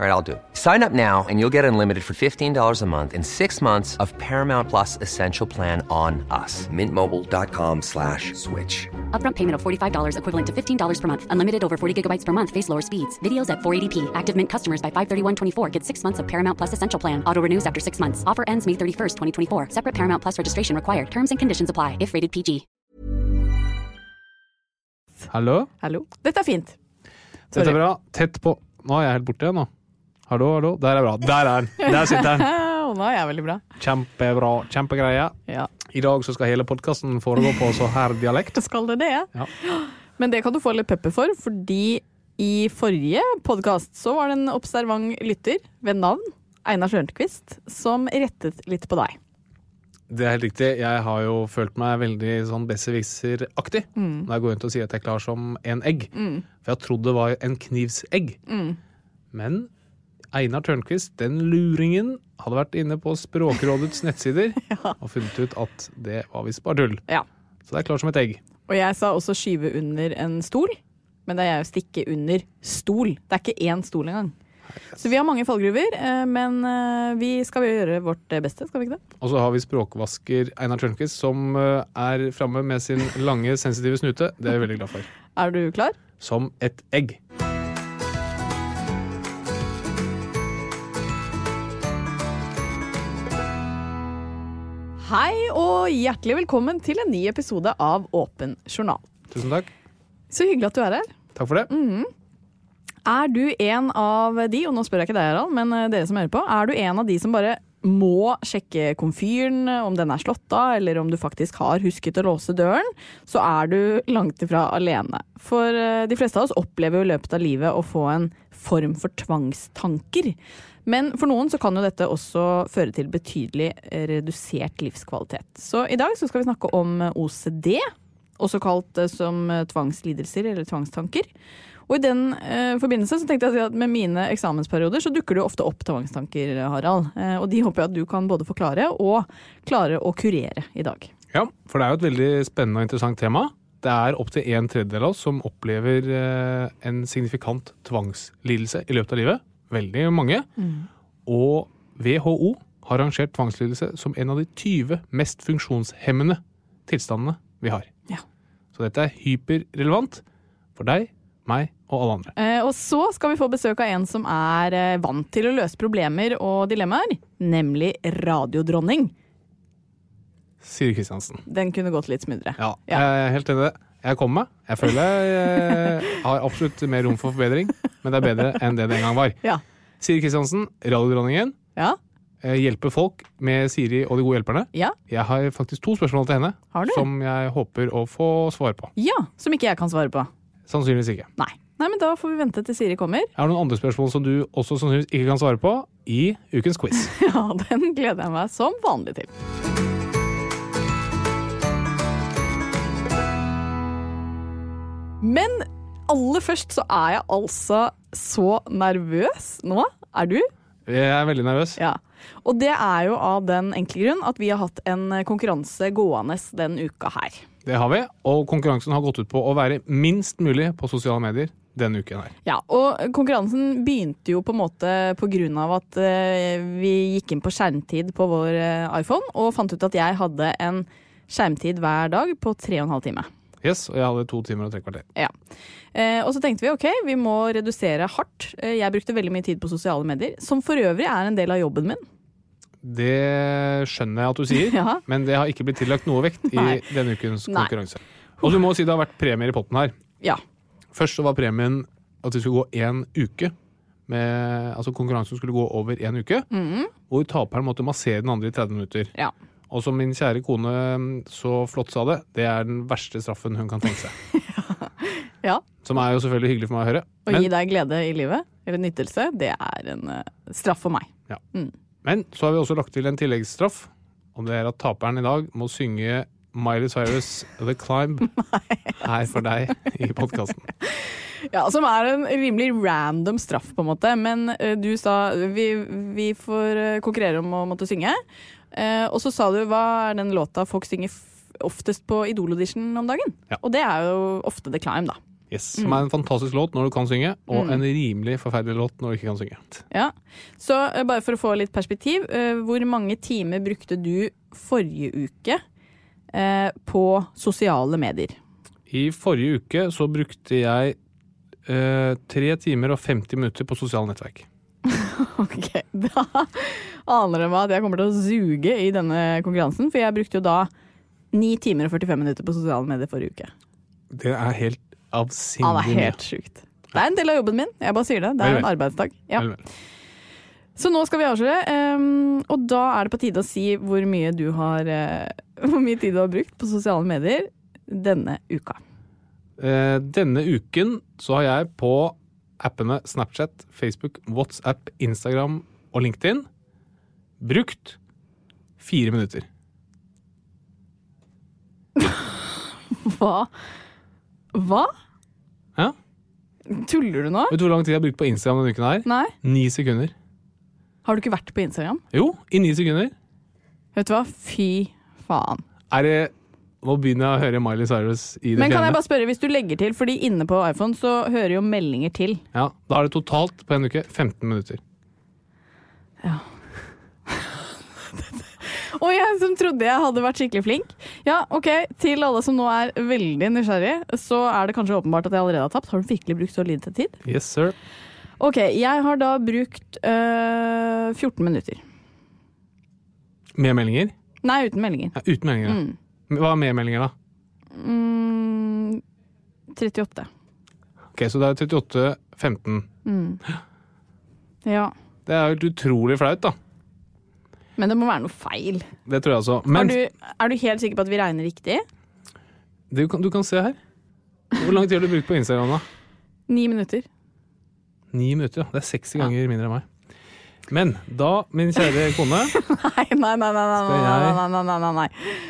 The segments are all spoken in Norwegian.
All right, I'll do it. Sign up now and you'll get unlimited for $15 a month in six months of Paramount Plus Essential Plan on us. Mintmobile.com slash switch. Upfront payment of $45 equivalent to $15 per month. Unlimited over 40 gigabytes per month. Face lower speeds. Videos at 480p. Active Mint customers by 531.24 get six months of Paramount Plus Essential Plan. Auto renews after six months. Offer ends May 31st, 2024. Separate Paramount Plus registration required. Terms and conditions apply if rated PG. Hallo? Hallo. Dette er fint. Dette er bra. Tett på Nå er jeg helt borte igjen, nå. Hallo, hallo. Der er bra. Der er den! Der sitter den! Og nå er jeg veldig bra. Kjempebra. Kjempegreie. Ja, I dag så skal hele podkasten foregå på så her dialekt. da skal det det. Ja. Men det kan du få litt pepper for, fordi i forrige podkast så var det en observant lytter ved navn Einar Sjørnquist som rettet litt på deg. Det er helt riktig. Jeg har jo følt meg veldig sånn besserwisser-aktig når jeg går rundt og sier at jeg er klar som en egg. For jeg har trodd det var en knivsegg. Men Einar Tørnquist, den luringen, hadde vært inne på Språkrådets nettsider og funnet ut at det var visst bare tull. Ja. Så det er klar som et egg. Og jeg sa også skyve under en stol, men det er jeg å stikke under stol. Det er ikke én stol engang. Så vi har mange fallgruver, eh, men eh, vi skal gjøre vårt beste, skal vi ikke det? Og så har vi språkvasker Einar Tørnquist, som eh, er framme med sin lange, sensitive snute. Det er vi veldig glad for. Er du klar? Som et egg. Hei og hjertelig velkommen til en ny episode av Åpen journal. Tusen takk. Så hyggelig at du er her. Takk for det. Er du en av de, og nå spør jeg ikke deg, Harald, men eh, dere som hører på, er du en av de som bare må sjekke komfyren, eh, om den er slått av, eller om du faktisk har husket å låse døren, så er du langt ifra alene. For eh, de fleste av oss opplever jo i løpet av livet å få en form for tvangstanker. Men for noen så kan jo dette også føre til betydelig eh, redusert livskvalitet. Så i dag så skal vi snakke om eh, OCD, også kalt eh, som eh, tvangslidelser eller tvangstanker. Og i den eh, forbindelse så tenkte jeg å si at med mine eksamensperioder så dukker det jo ofte opp tvangstanker, Harald. Eh, og de håper jeg at du kan både forklare og klare å kurere i dag. Ja, for det er jo et veldig spennende og interessant tema. Det er opptil en tredjedel av oss som opplever eh, en signifikant tvangslidelse i løpet av livet. Veldig mange. Og WHO har rangert tvangslidelse som en av de 20 mest funksjonshemmende tilstandene vi har. Ja. Så dette er hyperrelevant for deg, meg og alle andre. Eh, og så skal vi få besøk av en som er eh, vant til å løse problemer og dilemmaer, nemlig radiodronning. Siri Kristiansen. Den kunne gått litt smoothere. Ja, Ja. jeg er helt enig i det. Jeg kommer meg. Jeg føler jeg har absolutt mer rom for forbedring, men det er bedre enn det det en gang var. Ja. Siri Kristiansen, radiodronningen, Ja, eh, hjelper folk med Siri og de gode hjelperne. ja, Jeg har faktisk to spørsmål til henne Har du? som jeg håper å få svar på. ja, som ikke jeg kan svare på. Sannsynligvis ikke. Nei. Nei, men da får vi vente til Siri kommer. Er det noen andre spørsmål som du også sannsynligvis ikke kan svare på i ukens quiz? Ja, den gleder jeg meg som vanlig til. Men aller først så er jeg altså så nervøs nå. Er du? Jeg er veldig nervøs. Ja. Og det er jo av den enkle grunn at vi har hatt en konkurranse gående den uka her. Det har vi, og konkurransen har gått ut på å være minst mulig på sosiale medier denne uken her. Ja, og konkurransen begynte jo på en måte på grunn av at eh, vi gikk inn på skjermtid på vår eh, iPhone og fant ut at jeg hadde en skjermtid hver dag på 3,5 time. Yes, og jeg hadde to timer og tre kvarter. Ja. Eh, og så tenkte vi ok, vi må redusere hardt. Eh, jeg brukte veldig mye tid på sosiale medier, som for øvrig er en del av jobben min. Det skjønner jeg at du sier, Ja. men det har ikke blitt tillagt noe vekt i Nei. denne ukens Nei. konkurranse. Og du må si det har vært premier i potten her. Ja. Først så var premien at vi skulle gå én uke. Med, altså Konkurransen skulle gå over én uke, Mhm. hvor taperen måtte massere den andre i 30 minutter. ja. Og som min kjære kone mm, så flott sa det, det er den verste straffen hun kan tenke seg. ja. Som er jo selvfølgelig hyggelig for meg å høre. Å gi deg glede i livet, eller nytelse, det er en eh, straff for meg. Men så har vi også lagt til en tilleggsstraff, og det er at taperen i dag må synge Miley Cyrus' The Climb her for deg i podkasten. Ja, Som er en rimelig random straff, på en måte. Men eh, du sa vi, vi får eh, konkurrere om å måtte synge. Eh, og så sa du hva er den låta folk synger f oftest på Idol-audition om dagen? Ja. Og det er jo ofte The Climb, da. Yes, Som er en fantastisk låt når du kan synge, og Mm. en rimelig forferdelig låt når du ikke kan synge. Ja. Så eh, bare for å få litt perspektiv, eh, hvor mange timer brukte du forrige uke eh, på sosiale medier? I forrige uke så brukte jeg eh, tre timer og 50 minutter på sosiale nettverk. Ok, da aner det meg at jeg kommer til å suge i denne konkurransen, for jeg brukte jo da 9 timer og 45 minutter på sosiale medier forrige uke. Det er helt Ja, det avsindig er helt sjukt. Det er en del av jobben min, jeg bare sier det. Det Vel, er vel. en arbeidsdag. Ja. Vel, vel. Så nå skal vi avsløre, ehm, og da er det på tide å si hvor mye du har eh, Hvor mye tid du har brukt på sosiale medier denne uka. Eh, denne uken så har jeg på appene Snapchat, Facebook, WhatsApp, Instagram og LinkedIn brukt fire minutter. Hva? Hva? Hæ? Tuller du nå? Vet du hvor lang tid jeg har brukt på Instagram denne uken? her? Nei? Ni sekunder. Har du ikke vært på Instagram? Jo, i ni sekunder. Vet du hva? Fy faen. Er det Nå begynner jeg å høre Miley Cyrus i det Men kan jeg fjerne. bare spørre, hvis du legger til, fordi inne på iPhone så hører jo meldinger til. Ja, da er det totalt på en uke 15 minutter. Og jeg som trodde jeg hadde vært skikkelig flink. Ja, ok, til alle som nå er veldig nysgjerrig, så er det kanskje åpenbart at jeg allerede har tapt. Har du virkelig brukt så lite tid? Yes, sir. Ok, jeg har da brukt øh, 14 minutter. Med meldinger? Nei, uten meldinger. Ja, uten meldinger. da. Men Hva er med meldinger, da? Mm, 38. Ok, Så det er 38-15. Ja. Det er jo helt utrolig flaut, da. Men det må være noe feil. Det tror jeg altså. Er Men du, du... er du helt sikker på at vi regner riktig? kan, du kan se her. Hvor lang tid har du brukt på Instagram, da? 9 minutter. Ni minutter, ja. Det er 60 ganger mindre enn meg. Men da, min kjære kone, Nei, nei, nei, nei, nei, Skal jeg- nei, nei, nei, nei, nei.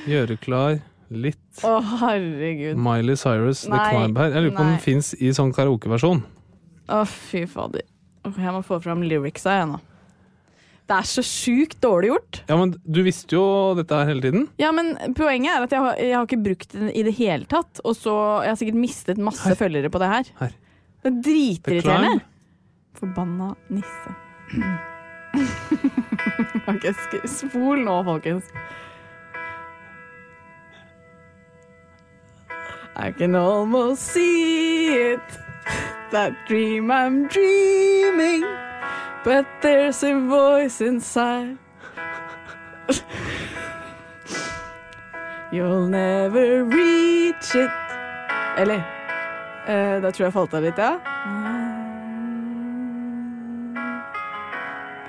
gjøre klar litt Å, herregud. Miley Cyrus, The Nei, Climb her. Jeg lurer på om nei. den fins i sånn karaokeversjon. Å, fy fader. Åh, Jeg må få fram lyricsa jeg nå. Det er så sjukt dårlig gjort. Ja, men du visste jo dette her hele tiden. Ja, men Poenget er at jeg har, jeg har ikke brukt den i det hele tatt. Og så jeg har sikkert mistet masse følgere på det her. Her. The Det er Climb. dritirriterende. Forbanna nisse. ok, sk- spol nå, folkens. I can almost see it. That dream I'm dreaming. But there's a voice inside. You'll never reach it. Eller eh, Da tror jeg jeg falt av litt, ja.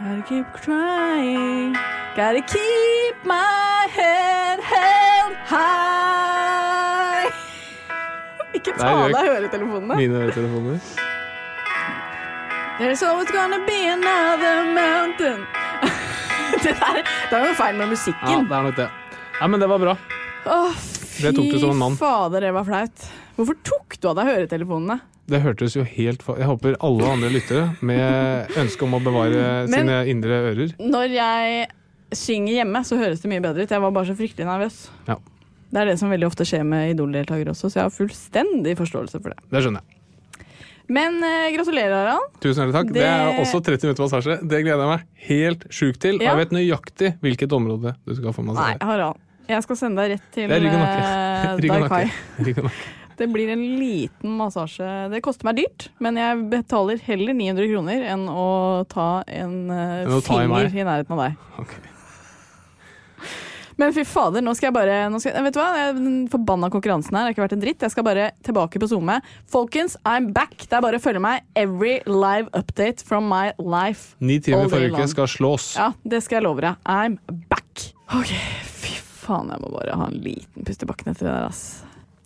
Gotta keep crying. Gotta keep my head held high. Ikke ta Nei, av det- deg høretelefonene. Mine telefoner. There's always gonna be another mountain. det, der, det er jo feil med Ja, musikken. det er nok det. Nei, men det var bra. Å, Det tok du som en mann. fy fader, det var flaut. Hvorfor tok du av deg høretelefonene? Det hørtes jo helt fa Jeg håper alle andre lyttere, med ønske om å bevare Men- sine indre ører Når jeg synger hjemme, så høres det mye bedre ut. Jeg var bare så fryktelig nervøs. Ja, Det er det som veldig ofte skjer med Idol-deltakere også, så jeg har fullstendig forståelse for det. Det skjønner jeg. Men eh, gratulerer, Harald. Tusen hjertelig takk. Det, Det- er også 30 minutter massasje. Det gleder jeg meg helt sjukt til. Og Ja. jeg vet nøyaktig hvilket område du skal få Nei, massasje. Harald. Jeg skal sende deg rett til Det er rygg og eh, nakke. Rygg og Dai Kai. nakke. Rygg og nakke. Det blir en liten massasje. Det koster meg dyrt, men jeg betaler heller 900 kroner enn å ta en eh, Enn å ta i finger meg. i nærheten av deg. Ok. Men fy fader, nå skal jeg bare nå skal, jeg- Vet du hva? Jeg- Den forbanna konkurransen her har ikke vært en dritt. Jeg skal bare tilbake på SoMe. Folkens, I'm back! Det er bare å følge meg. Every live update from my life. Ni timer all day forrige uke long. skal slås. Ja, det skal jeg love deg. I'm back! Ok, fy faen, jeg må bare ha en liten pust i bakken etter det der, ass.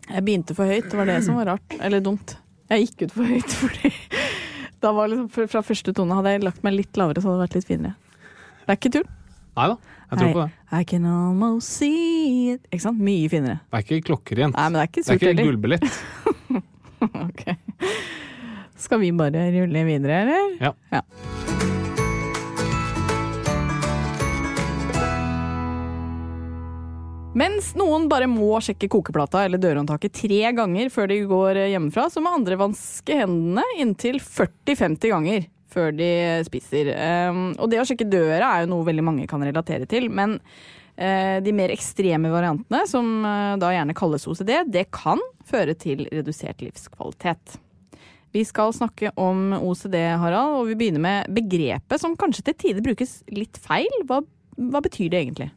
Jeg begynte for høyt, det var det som var rart. Eller dumt. Jeg gikk ut for høyt fordi da var liksom fra- Fra første tone hadde jeg lagt meg litt lavere, så hadde det vært litt finere. Det er ikke tull. Nei da, jeg tror Nei. på det. I can almost see it. Ikke sant? Mye finere. Det er ikke klokkerent. Nei, men det er ikke Det er surt ikke heller. gullbillett. Ok. Skal vi bare rulle videre, eller? Ja. Ja. Mens noen bare må sjekke kokeplata eller dørhåndtaket tre ganger før de går hjemmefra, så må andre vanske hendene inntil 40-50 ganger før de spiser. Um, og det å sjekke døra er jo noe veldig mange kan relatere til, men eh, de mer ekstreme variantene, som eh, da gjerne kalles OCD, det kan føre til redusert livskvalitet. Vi skal snakke om OCD, Harald, og vi begynner med begrepet som kanskje til tider brukes litt feil. Hva, hva betyr det egentlig?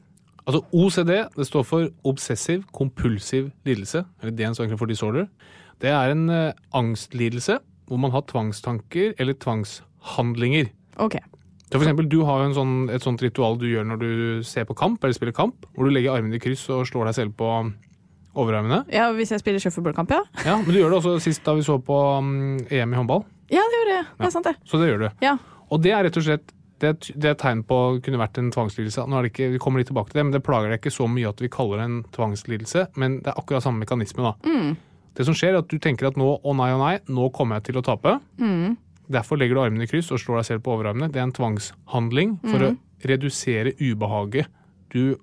Altså OCD det står for obsessiv kompulsiv lidelse, eller det en står egentlig for disorder. Det er en eh, angstlidelse hvor man har tvangstanker eller tvangshandlinger. Ok. Så for eksempel, du har jo en sånn, et sånt ritual du gjør når du ser på kamp eller spiller kamp, hvor du legger armene i kryss og slår deg selv på um, overarmene. Ja, hvis jeg spiller shuffleboardkamp, ja. Ja, Men du gjør det også sist da vi så på mm, EM i håndball. Ja, det gjorde jeg. Det er sant, det. Så det gjør du. Ja. Og det er rett og slett det er, et- det er et tegn på kunne vært en tvangslidelse. Nå er det ikke, vi kommer litt tilbake til det, men det plager deg ikke så mye at vi kaller det en tvangslidelse, men det er akkurat samme mekanisme, da. Det som skjer, er at du tenker at nå, å nei, å nei, nå kommer jeg til å tape. Derfor legger du armene i kryss og slår deg selv på overarmene. Det er en tvangshandling for å redusere ubehaget du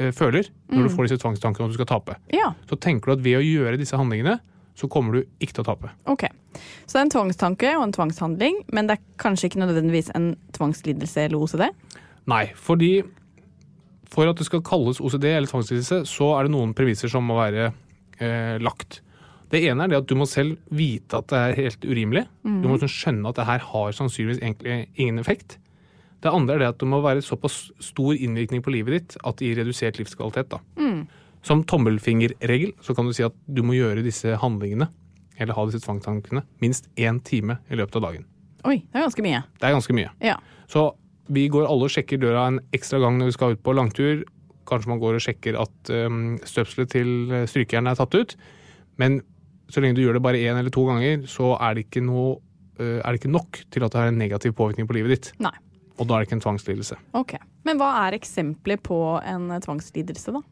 eh, føler når du får disse tvangstankene om at du skal tape. Ja, Så tenker du at ved å gjøre disse handlingene, så kommer du ikke til å tape. ok. Så det er en tvangstanke og en tvangshandling, men det er kanskje ikke nødvendigvis en tvangslidelse eller OCD? Nei, fordi for at det skal kalles OCD eller tvangslidelse, så er det noen premisser som må være eh, lagt. Det ene er det at du må selv vite at det er helt urimelig. Du må liksom skjønne at det her har sannsynligvis egentlig ingen effekt. Det andre er det at det må være såpass stor innvirkning på livet ditt at det gir redusert livskvalitet. Da. Som tommelfingerregel så kan du si at du må gjøre disse handlingene eller ha disse tvangstankene minst én time i løpet av dagen. Oi, det er ganske mye. Det er ganske mye. Ja. Så vi går alle og sjekker døra en ekstra gang når vi skal ut på langtur. Kanskje man går og sjekker at um, støpselet til strykejernet er tatt ut. Men så lenge du gjør det bare én eller to ganger, så er det ikke, noe, eh, er det ikke nok til at det har en negativ påvirkning på livet ditt. Nei. Og da er det ikke en tvangslidelse. Ok. Men hva er eksempler på en tvangslidelse, da?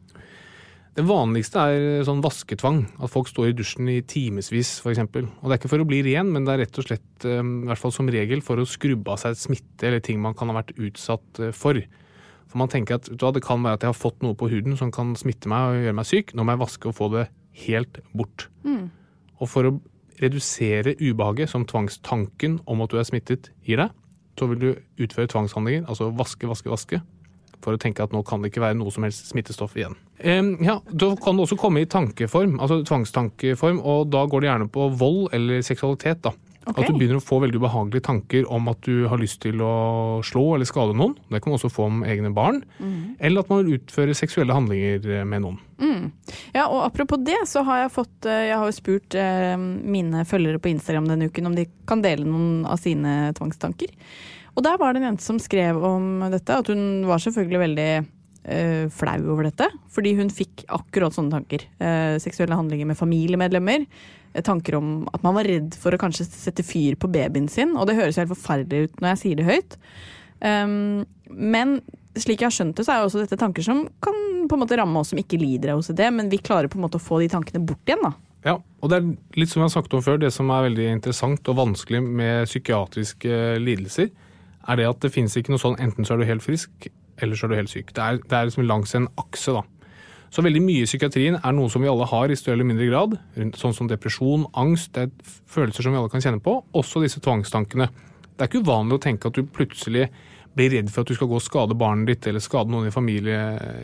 Det vanligste er sånn vasketvang. At folk står i dusjen i timevis, f.eks. Og det er ikke for å bli ren, men det er rett og slett, eh, i hvert fall som regel, for å skrubbe av seg smitte eller ting man kan ha vært utsatt eh, for. For man tenker at vet du hva, det kan være at jeg har fått noe på huden som kan smitte meg og gjøre meg syk. Nå må jeg vaske og få det helt bort. Og for å redusere ubehaget som tvangstanken om at du er smittet gir deg, så vil du utføre tvangshandlinger, altså vaske, vaske, vaske, for å tenke at nå kan det ikke være noe som helst smittestoff igjen. Em, ja, Da kan det også komme i tankeform, altså tvangstankeform, og da går det gjerne på vold eller seksualitet. da. Ok. At du begynner å få veldig ubehagelige tanker om at du har lyst til å slå eller skade noen. Det kan man også få om egne barn. Eller at man vil utføre seksuelle handlinger eh, med noen. Ja, og apropos det, så har jeg fått eh, Jeg har jo spurt eh, mine følgere på Instagram denne uken om de kan dele noen av sine tvangstanker. Og der var det en jente som skrev om dette, at hun var selvfølgelig veldig eh, flau over dette. Fordi hun fikk akkurat sånne tanker. Eh, seksuelle handlinger med familiemedlemmer. eh, Tanker om at man var redd for å kanskje sette fyr på babyen sin. Og det høres jo helt forferdelig ut når jeg sier det høyt. Um, men slik jeg har skjønt det, så er jo også dette tanker som kan på en måte ramme oss som ikke lider av OCD, men vi klarer på en måte å få de tankene bort igjen, da. Ja, og det er litt som jeg har snakket om før, det som er veldig interessant og vanskelig med psykiatriske eh, lidelser, er det at det finnes ikke noe sånn enten så er du helt frisk, eller så er du helt syk. Det er, det er liksom langs en akse, da. Så veldig mye i psykiatrien er noe som vi alle har i større eller mindre grad, rundt- sånn som depresjon, angst, det er følelser som vi alle kan kjenne på, også disse tvangstankene. Det er ikke uvanlig å tenke at du plutselig blir redd for at du skal gå og skade barnet ditt eller skade noen i, familie,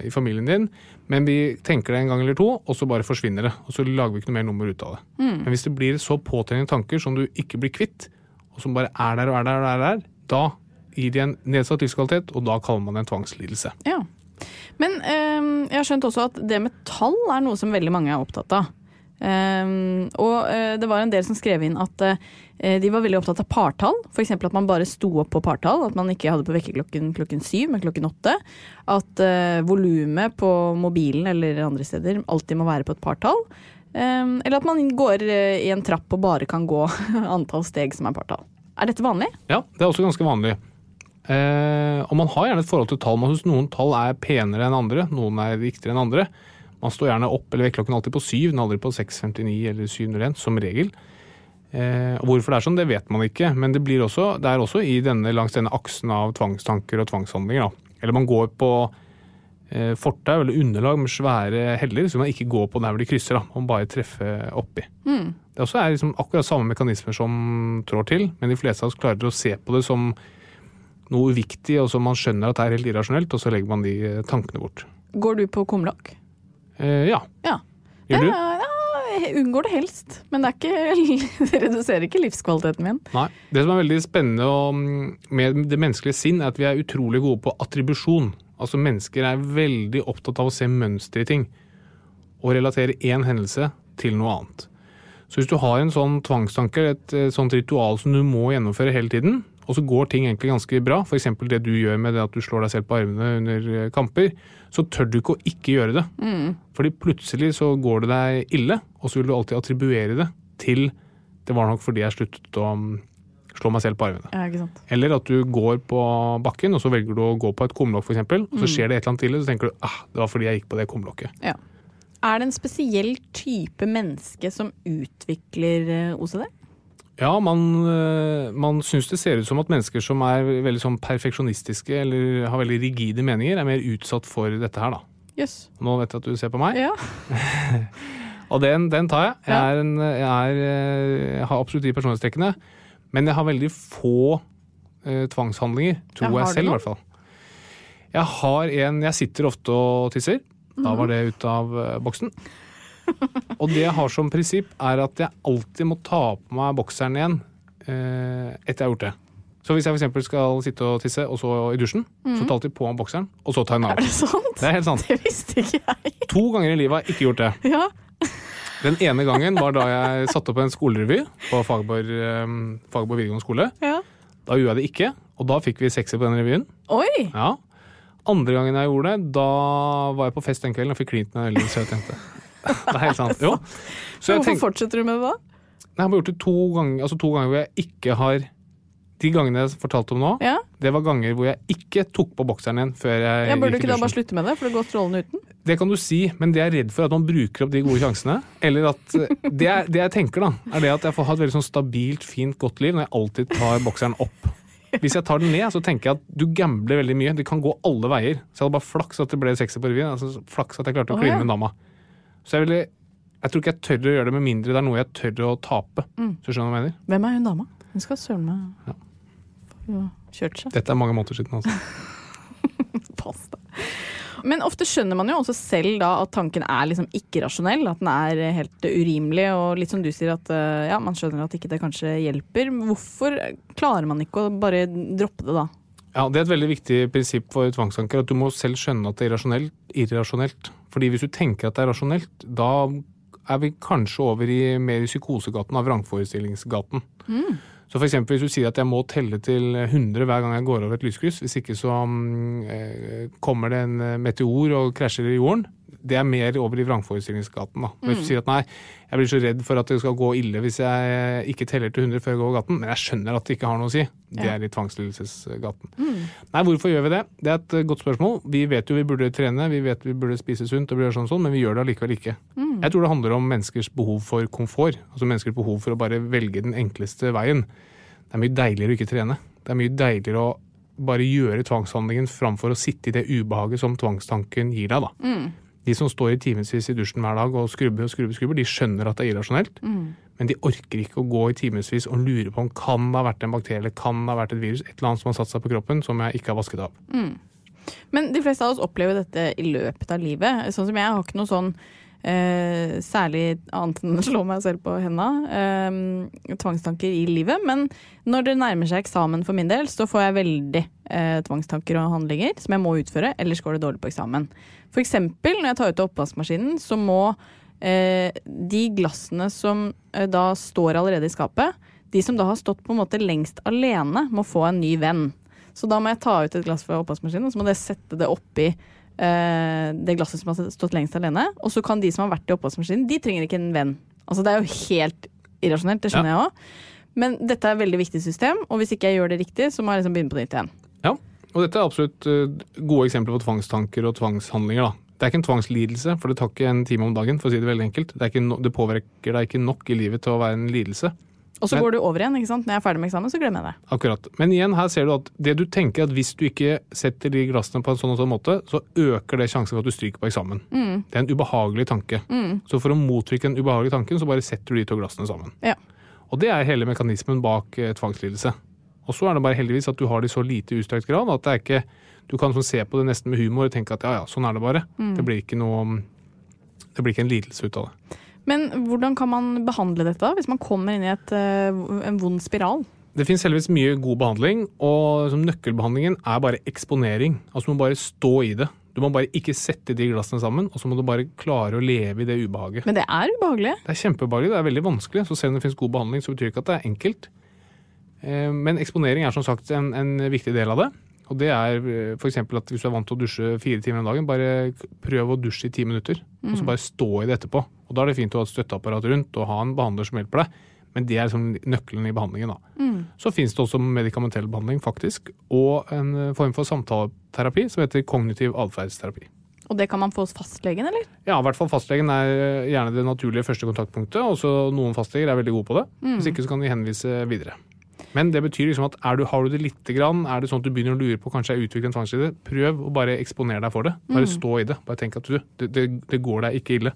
i familien din, men vi tenker det en gang eller to, og så bare forsvinner det. Og så lager vi ikke noe mer nummer ut av det. Men hvis det blir så påtrengende tanker som du ikke blir kvitt, og som bare er der og er der og er der, da gir de en nedsatt livskvalitet, og da kaller man det en tvangslidelse. Ja. Men ehm, jeg har skjønt også at det med tall er noe som veldig mange er opptatt av. Ehm, og eh, det var en del som skrev inn at eh, de var veldig opptatt av partall. F.eks. at man bare sto opp på partall. At man ikke hadde på vekkerklokken klokken syv, men klokken åtte. At uh, volumet på mobilen eller andre steder alltid må være på et partall. Ehm, eller at man går eh, i en trapp og bare kan gå antall steg som er partall. Er dette vanlig? Ja, det er også ganske vanlig. Eh, og man har gjerne et forhold til tall. Man synes noen tall er penere enn andre, noen er viktigere enn andre. Man står gjerne opp eller vekkerklokken alltid på syv, men aldri på 6.59 eller 7.01, som regel. Eh, og hvorfor det er sånn, det vet man ikke, men det, blir også, det er også i denne, langs denne aksen av tvangstanker og tvangshandlinger. Da. Eller man går på eh, fortau eller underlag med svære heller, så man ikke går på der hvor de krysser, da. man bare treffer oppi. Det også er liksom akkurat samme mekanismer som trår til, men de fleste av oss klarer å se på det som noe uviktig, og som man skjønner at det er helt irrasjonelt, og så legger man de eh, tankene bort. Går du på kumlokk? Eh, ja. Ja. Gjør du? Ja, ja, jeg unngår det helst, men det, er ikke, det reduserer ikke livskvaliteten min. Nei. Det som er veldig spennende og, mm, med det menneskelige sinn, er at vi er utrolig gode på attribusjon. Altså mennesker er veldig opptatt av å se mønster i ting, og relatere én hendelse til noe annet. Så hvis du har en sånn tvangstanke, et eh, sånt ritual som du må gjennomføre hele tiden, og så går ting egentlig ganske bra, f.eks. det du gjør med det at du slår deg selv på armene under eh, kamper, så tør du ikke å ikke gjøre det. Fordi plutselig så går det deg ille, og så vil du alltid attribuere det til det var nok fordi jeg sluttet å mm, slå meg selv på armene. Ja, ikke sant? Eller at du går på bakken, og så velger du å gå på et kumlokk f.eks., og så skjer det et eller annet til, og så tenker du ah, det var fordi jeg gikk på det kumlokket. Ja. Er det en spesiell type menneske som utvikler eh, OCD? Ja, man, øh, man syns det ser ut som at mennesker som er veldig sånn perfeksjonistiske eller har veldig rigide meninger, er mer utsatt for dette her, da. Jøss. Nå vet jeg at du ser på meg, Ja. og den, den tar jeg. Jeg, Ja. er en, jeg, er, øh, jeg har absolutt de personlighetstrekkene, men jeg har veldig få øh, tvangshandlinger, Ja, tror har jeg du selv i noen? hvert fall. Jeg har en Jeg sitter ofte og tisser. Da Mhm. var det ut av øh, boksen. Og det jeg har som prinsipp, er at jeg alltid må ta på meg bokseren igjen eh, etter jeg har gjort det. Så hvis jeg for eksempel skal sitte og tisse, og så i dusjen, så tar jeg alltid på meg bokseren, og så tar jeg den Mhm. Er av. det sant? Det er helt sant. Det visste ikke jeg. To ganger i livet har jeg ikke gjort det. Ja. Den ene gangen var da jeg satte opp en skolerevy på Fagborg, eh, Fagborg videregående skole. ja. Da gjorde jeg det ikke, og da fikk vi sekser på den revyen. Oi! Ja. Andre gangen jeg gjorde det, da var jeg på fest den kvelden og fikk klint med en veldig søt jente. Det er helt sant. Jo. Så jeg Hvorfor tenk- fortsetter du med det da? Nei, jeg har gjort det to ganger, altså to ganger hvor jeg ikke har De gangene jeg fortalte om nå, Ja. det var ganger hvor jeg ikke tok på bokseren igjen før jeg sånn. Ja, Bør du gikk i ikke da dusjen. bare slutte med det, for det går strålende uten? Det kan du si, men det jeg er redd for, er at man bruker opp de gode sjansene. Eller at eh, Det jeg, det jeg tenker, da, er det at jeg får ha et veldig sånn stabilt, fint, godt liv når jeg alltid tar bokseren opp. Hvis jeg tar den ned, så tenker jeg at du gambler veldig mye. Det kan gå alle veier. Så jeg hadde bare flaks at det ble sekser på revyen. Altså, flaks at jeg klarte å Å, kline ja. med dama. Så jeg, ville, jeg tror ikke jeg tør å gjøre det med mindre det er noe jeg tør å tape. Så skjønner du hva jeg mener? Hvem er hun dama? Hun skal søren meg ja. kjørt seg. Dette er mange måneder siden, altså. Pass deg. Men ofte skjønner man jo også selv da at tanken er liksom ikke rasjonell, at den er helt urimelig, og litt som du sier at eh, ja, man skjønner at ikke det kanskje hjelper. Hvorfor klarer man ikke å bare droppe det da? Ja, Det er et veldig viktig prinsipp for tvangstanker, at du må selv skjønne at det er irrasjonelt. irrasjonelt. Fordi hvis du tenker at det er rasjonelt, da er vi kanskje over i mer i psykosegaten av vrangforestillingsgaten. Så for eksempel hvis du sier at jeg må telle til 100 hver gang jeg går over et lyskryss, hvis ikke så mm, eh, kommer det en eh, meteor og krasjer i jorden, det er mer over i vrangforestillingsgaten. da. Men Hvis du sier at nei, jeg blir så redd for at det skal gå ille hvis jeg eh, ikke teller til 100 før jeg går over gaten, men jeg skjønner at det ikke har noe å si, det er i tvangslidelsesgaten. Nei, hvorfor gjør vi det? Det er et eh, godt spørsmål. Vi vet jo vi burde trene, vi vet vi burde spise sunt, og vi gjør sånn og sånn, men vi gjør det allikevel ikke. Jeg tror det handler om menneskers behov for komfort, altså menneskers behov for å bare velge den enkleste veien. Det er mye deiligere å ikke trene. Det er mye deiligere å bare gjøre tvangshandlingen framfor å sitte i det ubehaget som tvangstanken gir deg. da. De som står i timevis i dusjen hver dag og skrubber og skrubber, skrubber, de skjønner at det er irrasjonelt. men de orker ikke å gå i timevis og lure på om kan det ha vært en bakterie kan det ha vært et virus, et eller annet som har satt seg på kroppen som jeg ikke har vasket av. Men de fleste av oss opplever dette i løpet av livet. Sånn som jeg har ikke noe sånn eh, særlig annet enn å slå meg selv på henda. Eh, tvangstanker i livet. Men når det nærmer seg eksamen for min del, så får jeg veldig eh, tvangstanker og handlinger som jeg må utføre, ellers går det dårlig på eksamen. For eksempel når jeg tar ut av oppvaskmaskinen, så må eh, de glassene som eh, da står allerede i skapet, de som da har stått på en måte lengst alene, må få en ny venn. Så da må jeg ta ut et glass fra oppvaskmaskinen, og så må jeg sette det oppi eh, det glasset som har stått lengst alene. Og så kan de som har vært i oppvaskmaskinen, de trenger ikke en venn. Altså det er jo helt irrasjonelt, det skjønner jeg òg. Men dette er et veldig viktig system, og hvis ikke jeg gjør det riktig, så må jeg liksom begynne på nytt igjen. Ja, og dette er absolutt eh, gode eksempler på tvangstanker og tvangshandlinger. da. Det er ikke en tvangslidelse, for det tar ikke en time om dagen. for å si Det veldig enkelt. Det, er ikke no det påvirker deg ikke nok i livet til å være en lidelse. Og så Men- går du over igjen, ikke sant. Når jeg er ferdig med eksamen, så glemmer jeg det. Akkurat. Men igjen, her ser du at det du tenker at hvis du ikke setter de glassene på en sånn og sånn måte, så øker det sjansen for at du stryker på eksamen. Det er en ubehagelig tanke. Så for å motvirke den ubehagelige tanken, så bare setter du de to glassene sammen. Ja. Og det er hele mekanismen bak eh, tvangslidelse. Og så er det bare heldigvis at du har det i så lite utstrakt grad at det er ikke Du kan sånn se på det nesten med humor og tenke at ja ja, sånn er det bare. Det blir ikke noe Det blir ikke en lidelse ut av det. Men hvordan kan man behandle dette da, hvis man kommer inn i et, eh, en vond spiral? Det finnes heldigvis mye god behandling, og liksom nøkkelbehandlingen er bare eksponering. Altså Du må bare stå i det. Du må bare ikke sette de glassene sammen, og så må du bare klare å leve i det ubehaget. Men det er ubehagelig. Det er kjempebehagelig, det er veldig vanskelig, så selv om det finnes god behandling, så betyr det ikke at det er enkelt. Eh, Men eksponering er som sagt en, en viktig del av det. Og det er f.eks. at hvis du er vant til å dusje fire timer om dagen, bare k- prøv å dusje i ti minutter. Og så bare stå i det etterpå. Og da er det fint å ha et støtteapparat rundt og ha en behandler som hjelper deg. Men det er liksom nøkkelen i behandlingen. da. Så finnes det også medikamentell behandling, faktisk. Og en eh, form for samtaleterapi som heter kognitiv atferdsterapi. Og det kan man få hos fastlegen, eller? Ja, i hvert fall fastlegen er eh, gjerne det naturlige første kontaktpunktet. og så noen fastleger er veldig gode på det. Hvis ikke så kan de henvise videre. Men det betyr liksom at er du, har du det lite grann, er det sånn at du begynner å lure på kanskje jeg utvikler en tvangslide, prøv å bare eksponere deg for det. Bare stå i det. Bare tenk at du, det, det, det går deg ikke ille.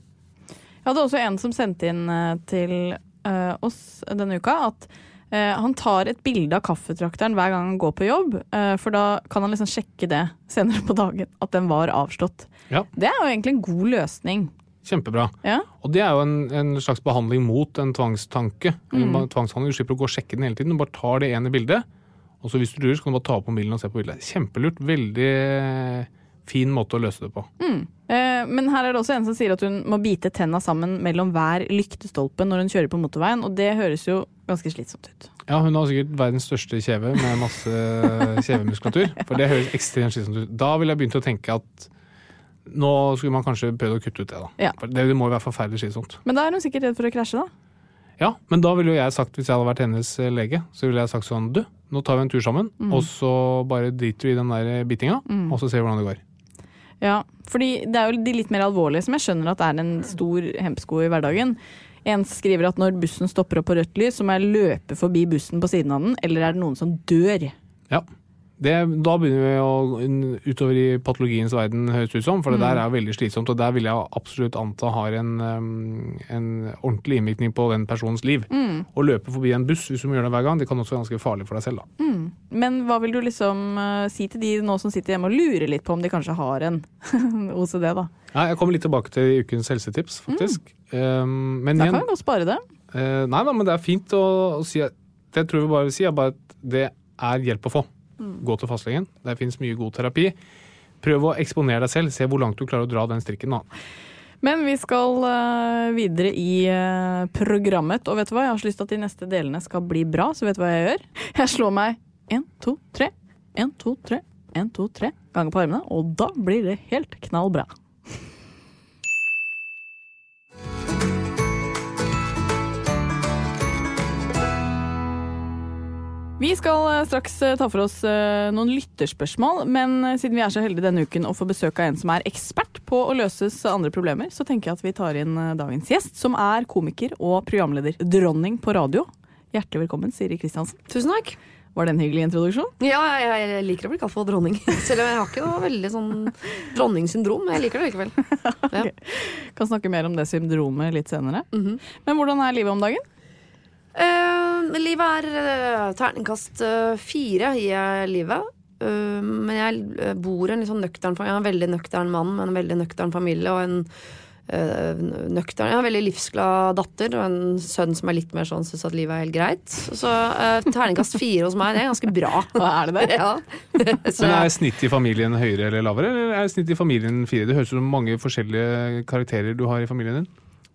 Jeg hadde også en som sendte inn eh, til eh, oss denne uka at eh, han tar et bilde av kaffetrakteren hver gang han går på jobb, eh, for da kan han liksom sjekke det senere på dagen, at den var avslått. Ja, Det er jo egentlig en god løsning. Kjempebra. Ja, Og det er jo en, en slags behandling mot en tvangstanke. Eller en tvangshandling. Du slipper å gå og sjekke den hele tiden. Du bare tar det ene bildet, og så hvis du lurer, så kan du bare ta opp mobilen og se på bildet. Kjempelurt. Veldig eh, fin måte å løse det på. Eh, Men her er det også en som sier at hun må bite tenna sammen mellom hver lyktestolpe når hun kjører på motorveien, og det høres jo ganske slitsomt ut. Ja, hun har sikkert verdens største kjeve med masse kjevemuskulatur. For det høres ekstremt slitsomt ut. Da ville jeg begynt å tenke at nå skulle man kanskje prøvd å kutte ut det, da. Ja. For det, det må jo være forferdelig slitsomt. Men da er hun sikkert redd for å krasje, da. Ja, men da ville jo jeg sagt, hvis jeg hadde vært hennes eh, lege, så ville jeg sagt sånn Du, nå tar vi en tur sammen, og så bare driter vi i den der bitinga, og så ser vi hvordan det går. Ja, fordi det er jo de litt mer alvorlige som jeg skjønner at er en stor hemsko i hverdagen. En skriver at når bussen stopper opp på rødt lys, så må jeg løpe forbi bussen på siden av den, eller er det noen som dør? Ja. Det, da begynner vi å n- utover i patologiens verden, høres det ut som. For det der er jo veldig slitsomt, og der vil jeg absolutt anta har en, um, en ordentlig innvirkning på den personens liv. Å løpe forbi en buss hvis du må gjøre det hver gang, det kan også være ganske farlig for deg selv. da. Men hva vil du liksom eh, si til de nå som sitter hjemme og lurer litt på om de kanskje har en OCD, da? Nei, jeg kommer litt tilbake til ukens helsetips, faktisk. Um, men Da igjen, kan vi godt spare det. eh, nei da, men det er fint å, å si at- Det tror jeg vi bare vil si, er bare at det er hjelp å få. Gå til fastlegen. Der finnes mye god terapi. Prøv å eksponere deg selv. Se hvor langt du klarer å dra den strikken. da. Men vi skal eh, videre i eh, programmet, og vet du hva? Jeg har så lyst til at de neste delene skal bli bra, så vet du hva jeg gjør? Jeg slår meg én, to, tre, én, to, tre, én, to, tre ganger på armene, og da blir det helt knall bra. Vi skal eh, straks eh, ta for oss eh, noen lytterspørsmål, men eh, siden vi er så heldige denne uken å få besøk av en som er ekspert på å løses andre problemer, så tenker jeg at vi tar inn eh, dagens gjest, som er komiker og programleder. Dronning på radio. Hjertelig velkommen, Siri Kristiansen. Tusen takk. Var det en hyggelig introduksjon? Ja, jeg, jeg liker å bli kalt for dronning. Selv om jeg har ikke noe veldig sånn dronningsyndrom. Men jeg liker det likevel. Mhm. Kan snakke mer om det syndromet litt senere. Men hvordan er livet om dagen? Eh, livet er eh, terningkast eh, fire gir jeg livet. Eh, men jeg eh, bor i en litt sånn nøktern familie. Jeg er en veldig nøktern mann med en veldig nøktern familie. Og en eh, nøktern Jeg har en veldig livsglad datter og en sønn som er litt mer sånn syns at livet er helt greit. Så eh, terningkast fire hos meg, det er ganske bra. Er det det? Ja. Så, Men er snittet i familien høyere eller lavere, eller er snittet i familien fire? Det høres ut som mange forskjellige karakterer du har i familien din.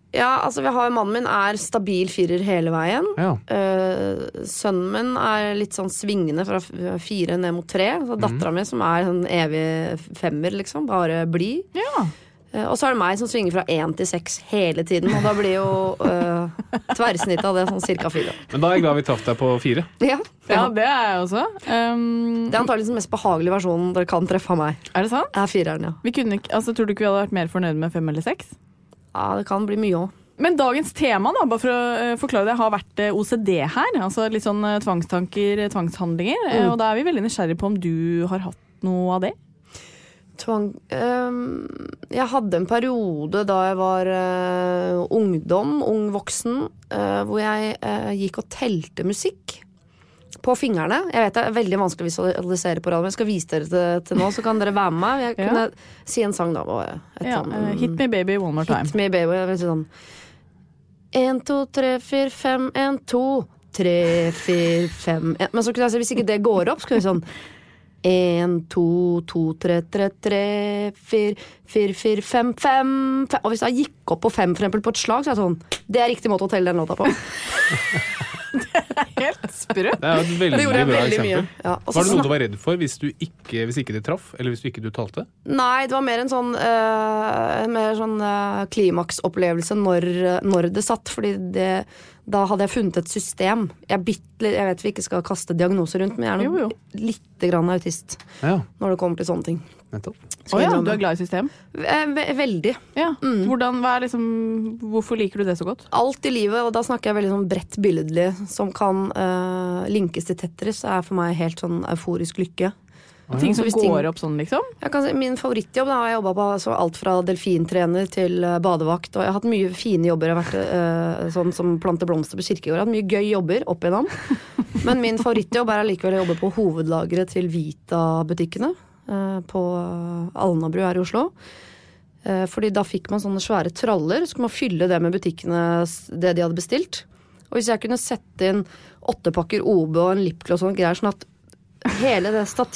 ja, altså vi har Mannen min er stabil firer hele veien. Ja. Eh, sønnen min er litt sånn svingende fra f- fire ned mot tre. Så dattera mi som er sånn evig femmer, liksom. Bare blid. Ja. Eh, og så er det meg som svinger fra én til seks hele tiden. Og da blir jo uh, tverrsnittet av det sånn cirka fire. Men da er jeg glad vi traff deg på fire. Ja. ja, det er jeg også. Um, Det er antakelig den mest behagelige versjonen dere kan treffe av meg. er det sant? Det er fireren, ja. Vi kunne ikke, altså, tror du ikke vi hadde vært mer fornøyd med fem eller seks? ja. Det kan bli mye òg. Men dagens tema da, bare for å eh, forklare det, har vært eh, OCD her. altså Litt sånn eh, tvangstanker, eh, tvangshandlinger. eh, Mm. Og da er vi veldig nysgjerrige på om du har hatt noe av det. Tvang Ehm, Jeg hadde en periode da jeg var eh, ungdom, ung voksen, eh, hvor jeg eh, gikk og telte musikk. På fingrene. Jeg vet det er veldig vanskelig å visualisere på radio, men jeg skal vise dere det til nå, så kan dere være med meg. Jeg Ja. kunne si en sang da. hva var det? Et Ja, sånn- eh, hit me baby one more time. Hit me baby. Jeg vet ikke sånn. En, to, tre, fire, fem, en, to, tre, fire, fem en. Men så kunne jeg si, hvis ikke det går opp, så kunne jeg sånn En, to, to, tre, tre, tre, fire, fire, fire, fem, fem, fem Og hvis jeg gikk opp på fem for eksempel, på et slag, så er jeg sånn Det er riktig måte å telle den låta på. Helt sprø. Det er jo et veldig bra eksempel. Ja, og så Var det noe snak- du var redd for hvis, du ikke, hvis ikke det traff, eller hvis du ikke du talte? Nei, det var mer en sånn, eh, en mer sånn eh, klimaksopplevelse når, eh, når det satt. Fordi det, da hadde jeg funnet et system. Jeg, er bitte litt- jeg vet vi ikke skal kaste diagnoser rundt, men jeg er Jo, jo. nok lite grann autist Ja, når det kommer til sånne ting. nettopp. Å ja, du er glad i system? Eh, ve- Veldig. Ja. Mm. Hvordan, hva er liksom, hvorfor liker du det så godt? Alt i livet, og da snakker jeg veldig sånn bredt billedlig, som kan eh, linkes til Tetris, er for meg helt sånn euforisk lykke. Ting som Hvis ting- går opp sånn, liksom? Jeg kan si, min favorittjobb da, har jeg jobbet på så alt fra delfintrener til eh, badevakt. Og jeg har hatt mye fine jobber. Jeg har vært eh, sånn som planter blomster på kirkegård. Jeg har hatt mye gøy jobber opp igjennom. Men min favorittjobb er allikevel å jobbe på hovedlageret til Vita-butikkene eh, på Alnabru her i Oslo. Eh, Fordi da fikk man sånne svære traller, så kunne man fylle det med butikkene s- det de hadde bestilt. Og hvis jeg kunne sette inn åtte pakker OB og en lipgloss og sånne greier, sånn at hele det stativet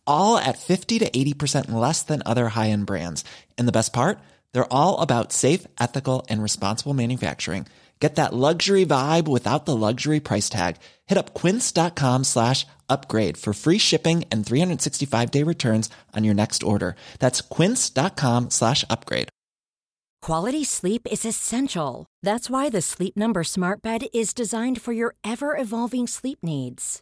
all at 50 to 80% less than other high end brands. And the best part? They're all about safe, ethical, and responsible manufacturing. Get that luxury vibe without the luxury price tag. Hit up quince.com slash upgrade for free shipping and 365 day returns on your next order. That's quince.com slash upgrade. Quality sleep is essential. That's why the Sleep Number Smart Bed is designed for your ever evolving sleep needs.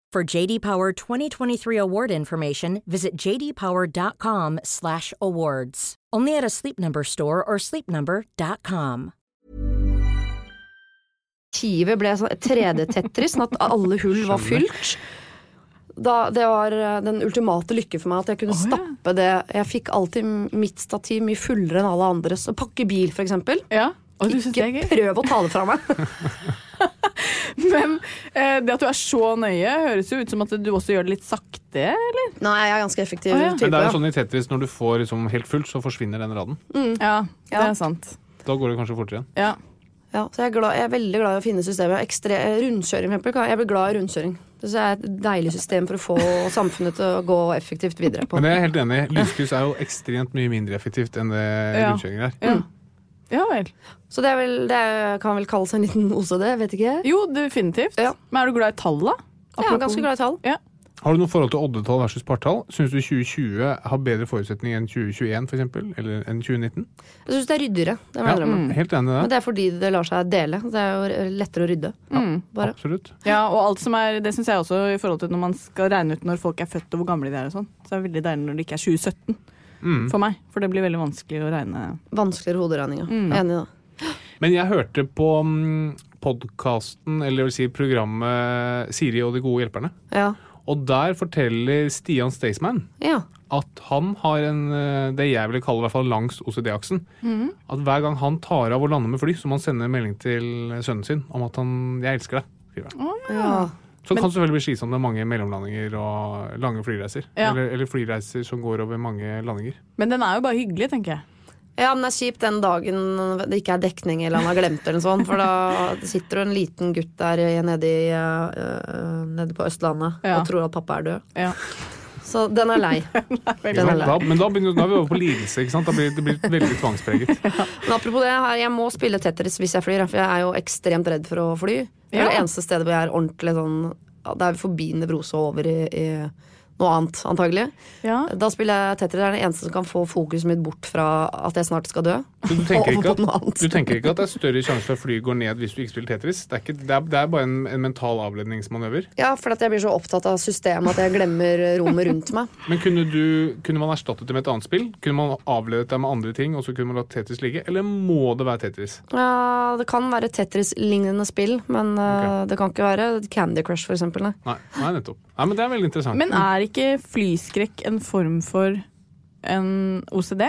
For JD Power 2023 award information, visit jdpower.com/awards. Only at a Sleep Number store or sleepnumber.com. Tivet ble sånn 3D-tetris, sånn at alle hull var fylt. Da, det var eh, den ultimate lykke for meg at jeg kunne Å, ja. stappe det. Jeg fikk alltid m- mitt stativ mye fullere enn alle andres. Å pakke bil, for eksempel. Ja. Og du syns det Ikke er gøy? prøv å ta det fra meg. Men eh, det at du er så nøye, høres jo ut som at du også gjør det litt sakte, eller? Nei, jeg er ganske effektiv Å, ja. Men type. det er ja. jo sånn i Tetris, når du får liksom helt fullt, så forsvinner den raden. Ja, det Mm. Ja. er sant. Da går det kanskje fortere igjen. Ja. Ja, så jeg er, glad, jeg er veldig glad i å finne systemer. Jeg er Ekstre, eh, rundkjøring, for eksempel. kan- Jeg blir glad i rundkjøring. Det synes jeg er et deilig system for å få samfunnet til å gå effektivt videre på. Men det er jeg helt enig i. Lyskryss er jo ekstremt mye mindre effektivt enn det Ja. rundkjøring er. Ja. ja vel. Så det, er vel, det er, kan vel kalles en liten OCD, vet ikke jeg. Jo, definitivt. Ja. Men er du glad i tall, da? Jeg er ganske glad i tall. Ja. Har du noe forhold til oddetall versus partall? Syns du 2020 har bedre forutsetning enn 2021 for eksempel? Eller enn 2019? Jeg syns det er ryddigere. Det må Ja, mm, jeg innrømme. helt enig i Men det. det er fordi det lar seg dele. Det er jo lettere å rydde. Bare. Absolutt. Ja, og alt som er, det syns jeg også i forhold til når man skal regne ut når folk er født og hvor gamle de er og sånn. Så er det veldig deilig når det ikke er 2017 for meg. For det blir veldig vanskelig å regne. Vanskeligere hoderegninga. Enig i det. Men jeg hørte på podkasten, eller jeg vil si programmet Siri og de gode hjelperne. Ja. Og der forteller Stian Staysman ja. at han har en, eh, det jeg ville kalle i hvert fall langs OCD-aksen. At hver gang han tar av og lander med fly, så må han sende en melding til sønnen sin om at han 'jeg elsker deg'. skriver han. ja. Så det kan selvfølgelig bli slitsomt med mange mellomlandinger og lange flyreiser. Ja. Eller, eller flyreiser som går over mange landinger. Men den er jo bare hyggelig, tenker jeg. Ja, men det er kjipt den dagen det ikke er dekning eller han har glemt det eller sånn, for da sitter jo en liten gutt der i- nede, i, eh, eh, nede på Østlandet Ja. og tror at pappa er død. Ja. Så den er lei. Ikke den er sant? lei. Da, men da, begynner, da er vi over på lidelse. ikke sant? Da blir det blir veldig tvangspreget. Men apropos det, her, jeg må spille Tetris hvis jeg flyr, for jeg er jo ekstremt redd for å fly. Det er Ja. det eneste stedet hvor jeg er ordentlig sånn ja, Det er forbi nevrose og over i, i noe annet, antagelig. Ja. Da spiller jeg Tetris. Det er den eneste som kan få fokuset mitt bort fra at jeg snart skal dø. Så du tenker, Og ikke over på noe at, annet. du tenker ikke at det er større sjanse for at flyet går ned hvis du ikke spiller Tetris? Det er, ikke, det er, det er bare en, en mental avledningsmanøver. Ja, for at jeg blir så opptatt av systemet at jeg glemmer rommet rundt meg. Men kunne, du, kunne man erstattet det med et annet spill? Kunne man avledet deg med andre ting, og så kunne man latt Tetris ligge? Eller må det være Tetris? Ja, det kan være Tetris-lignende spill, men eh, det kan ikke være Candy Crush, for eksempel. Nei. Nei, nei nettopp. Nei, men Det er veldig interessant. Men er ikke flyskrekk en form for en OCD?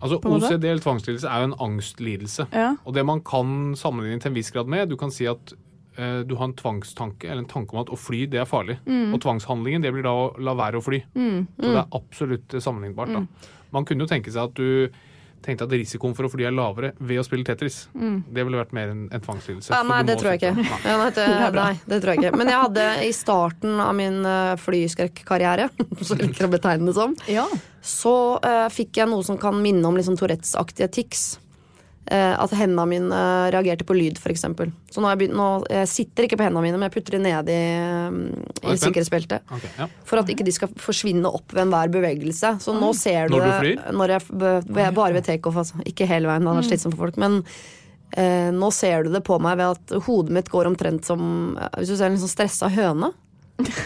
altså, en måte? OCD eller tvangslidelse er jo en angstlidelse. Ja. Og det man kan sammenligne til en viss grad med, du kan si at eh, du har en tvangstanke, eller en tanke om at å fly, det er farlig. Mm. Og tvangshandlingen, det blir da å la være å fly. Så det er absolutt eh, sammenlignbart. Mm. da. Man kunne jo tenke seg at du tenkte at risikoen for å fly er lavere ved å spille Tetris. Det ville vært mer en, en tvangslidelse. Mm. Ja, for nei, du det må tror jeg sitte- ikke. Ja, nei, det, nei, det tror jeg ikke. Men jeg hadde i starten av min eh, flyskrekkarriere, som jeg liker å betegne det som, Ja. så eh, fikk jeg noe som kan minne om liksom, Tourettes-aktige tics. Eh, at hendene mine eh, reagerte på lyd, f.eks. Så nå, har jeg begynt, nå jeg sitter ikke på hendene mine, men jeg putter de ned i, eh, Er i du spent? sikkerhetsbeltet. Ok, ja. For at ikke de skal forsvinne opp ved enhver bevegelse. Så nå ser du Når du det flyr? når jeg, be- be- bare ved takeoff, altså. Ikke hele veien, det Mm. hadde vært slitsomt for folk. Men eh, nå ser du det på meg ved at hodet mitt går omtrent som eh, Hvis du ser en litt sånn stressa høne.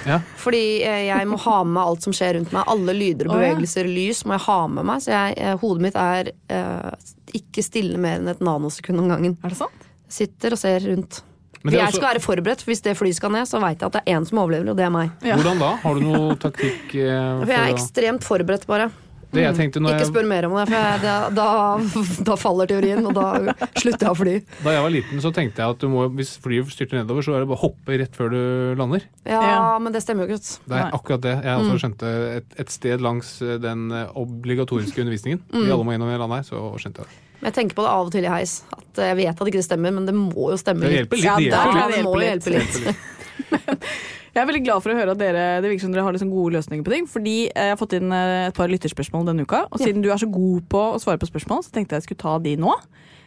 Ja. Fordi eh, jeg må ha med meg alt som skjer rundt meg. Alle lyder og Å, ja. bevegelser, lys, må jeg ha med meg. Så jeg, eh, hodet mitt er eh, ikke stille mer enn et nanosekund om gangen. Er det sant? Sitter og ser rundt. Men det er altså- jeg også- skal være forberedt, for hvis det flyet skal ned, så veit jeg at det er én som overlever, og det er meg. Ja. Hvordan da? Har du noe taktikk? eh, For jeg er å- ekstremt forberedt, bare. det jeg tenkte når Ikke jeg, spør mer om det, for jeg, da, da, da faller teorien, og da slutter jeg å fly. da jeg var liten, så tenkte jeg at du må, hvis flyet styrter nedover, så er det bare å hoppe rett før du lander. Ja, Ja. men det stemmer jo ikke. Det er akkurat det. Jeg Mm. også skjønte et, et sted langs eh, den eh, obligatoriske undervisningen. Mm. Vi alle må innom en eller annen her, så skjønte jeg det. Men jeg tenker på det av og til i heis. At eh, jeg vet at ikke det stemmer, men det må jo stemme Det litt. hjelper litt. Ja, det hjelper der kan Ja, litt. det må jo hjelpe litt. Jeg er veldig glad for å høre at dere Det virker som dere har liksom gode løsninger på ting. Fordi eh, jeg har fått inn eh, et par lytterspørsmål denne uka. Og siden du er så god på å svare på spørsmål, så tenkte jeg jeg skulle ta de nå.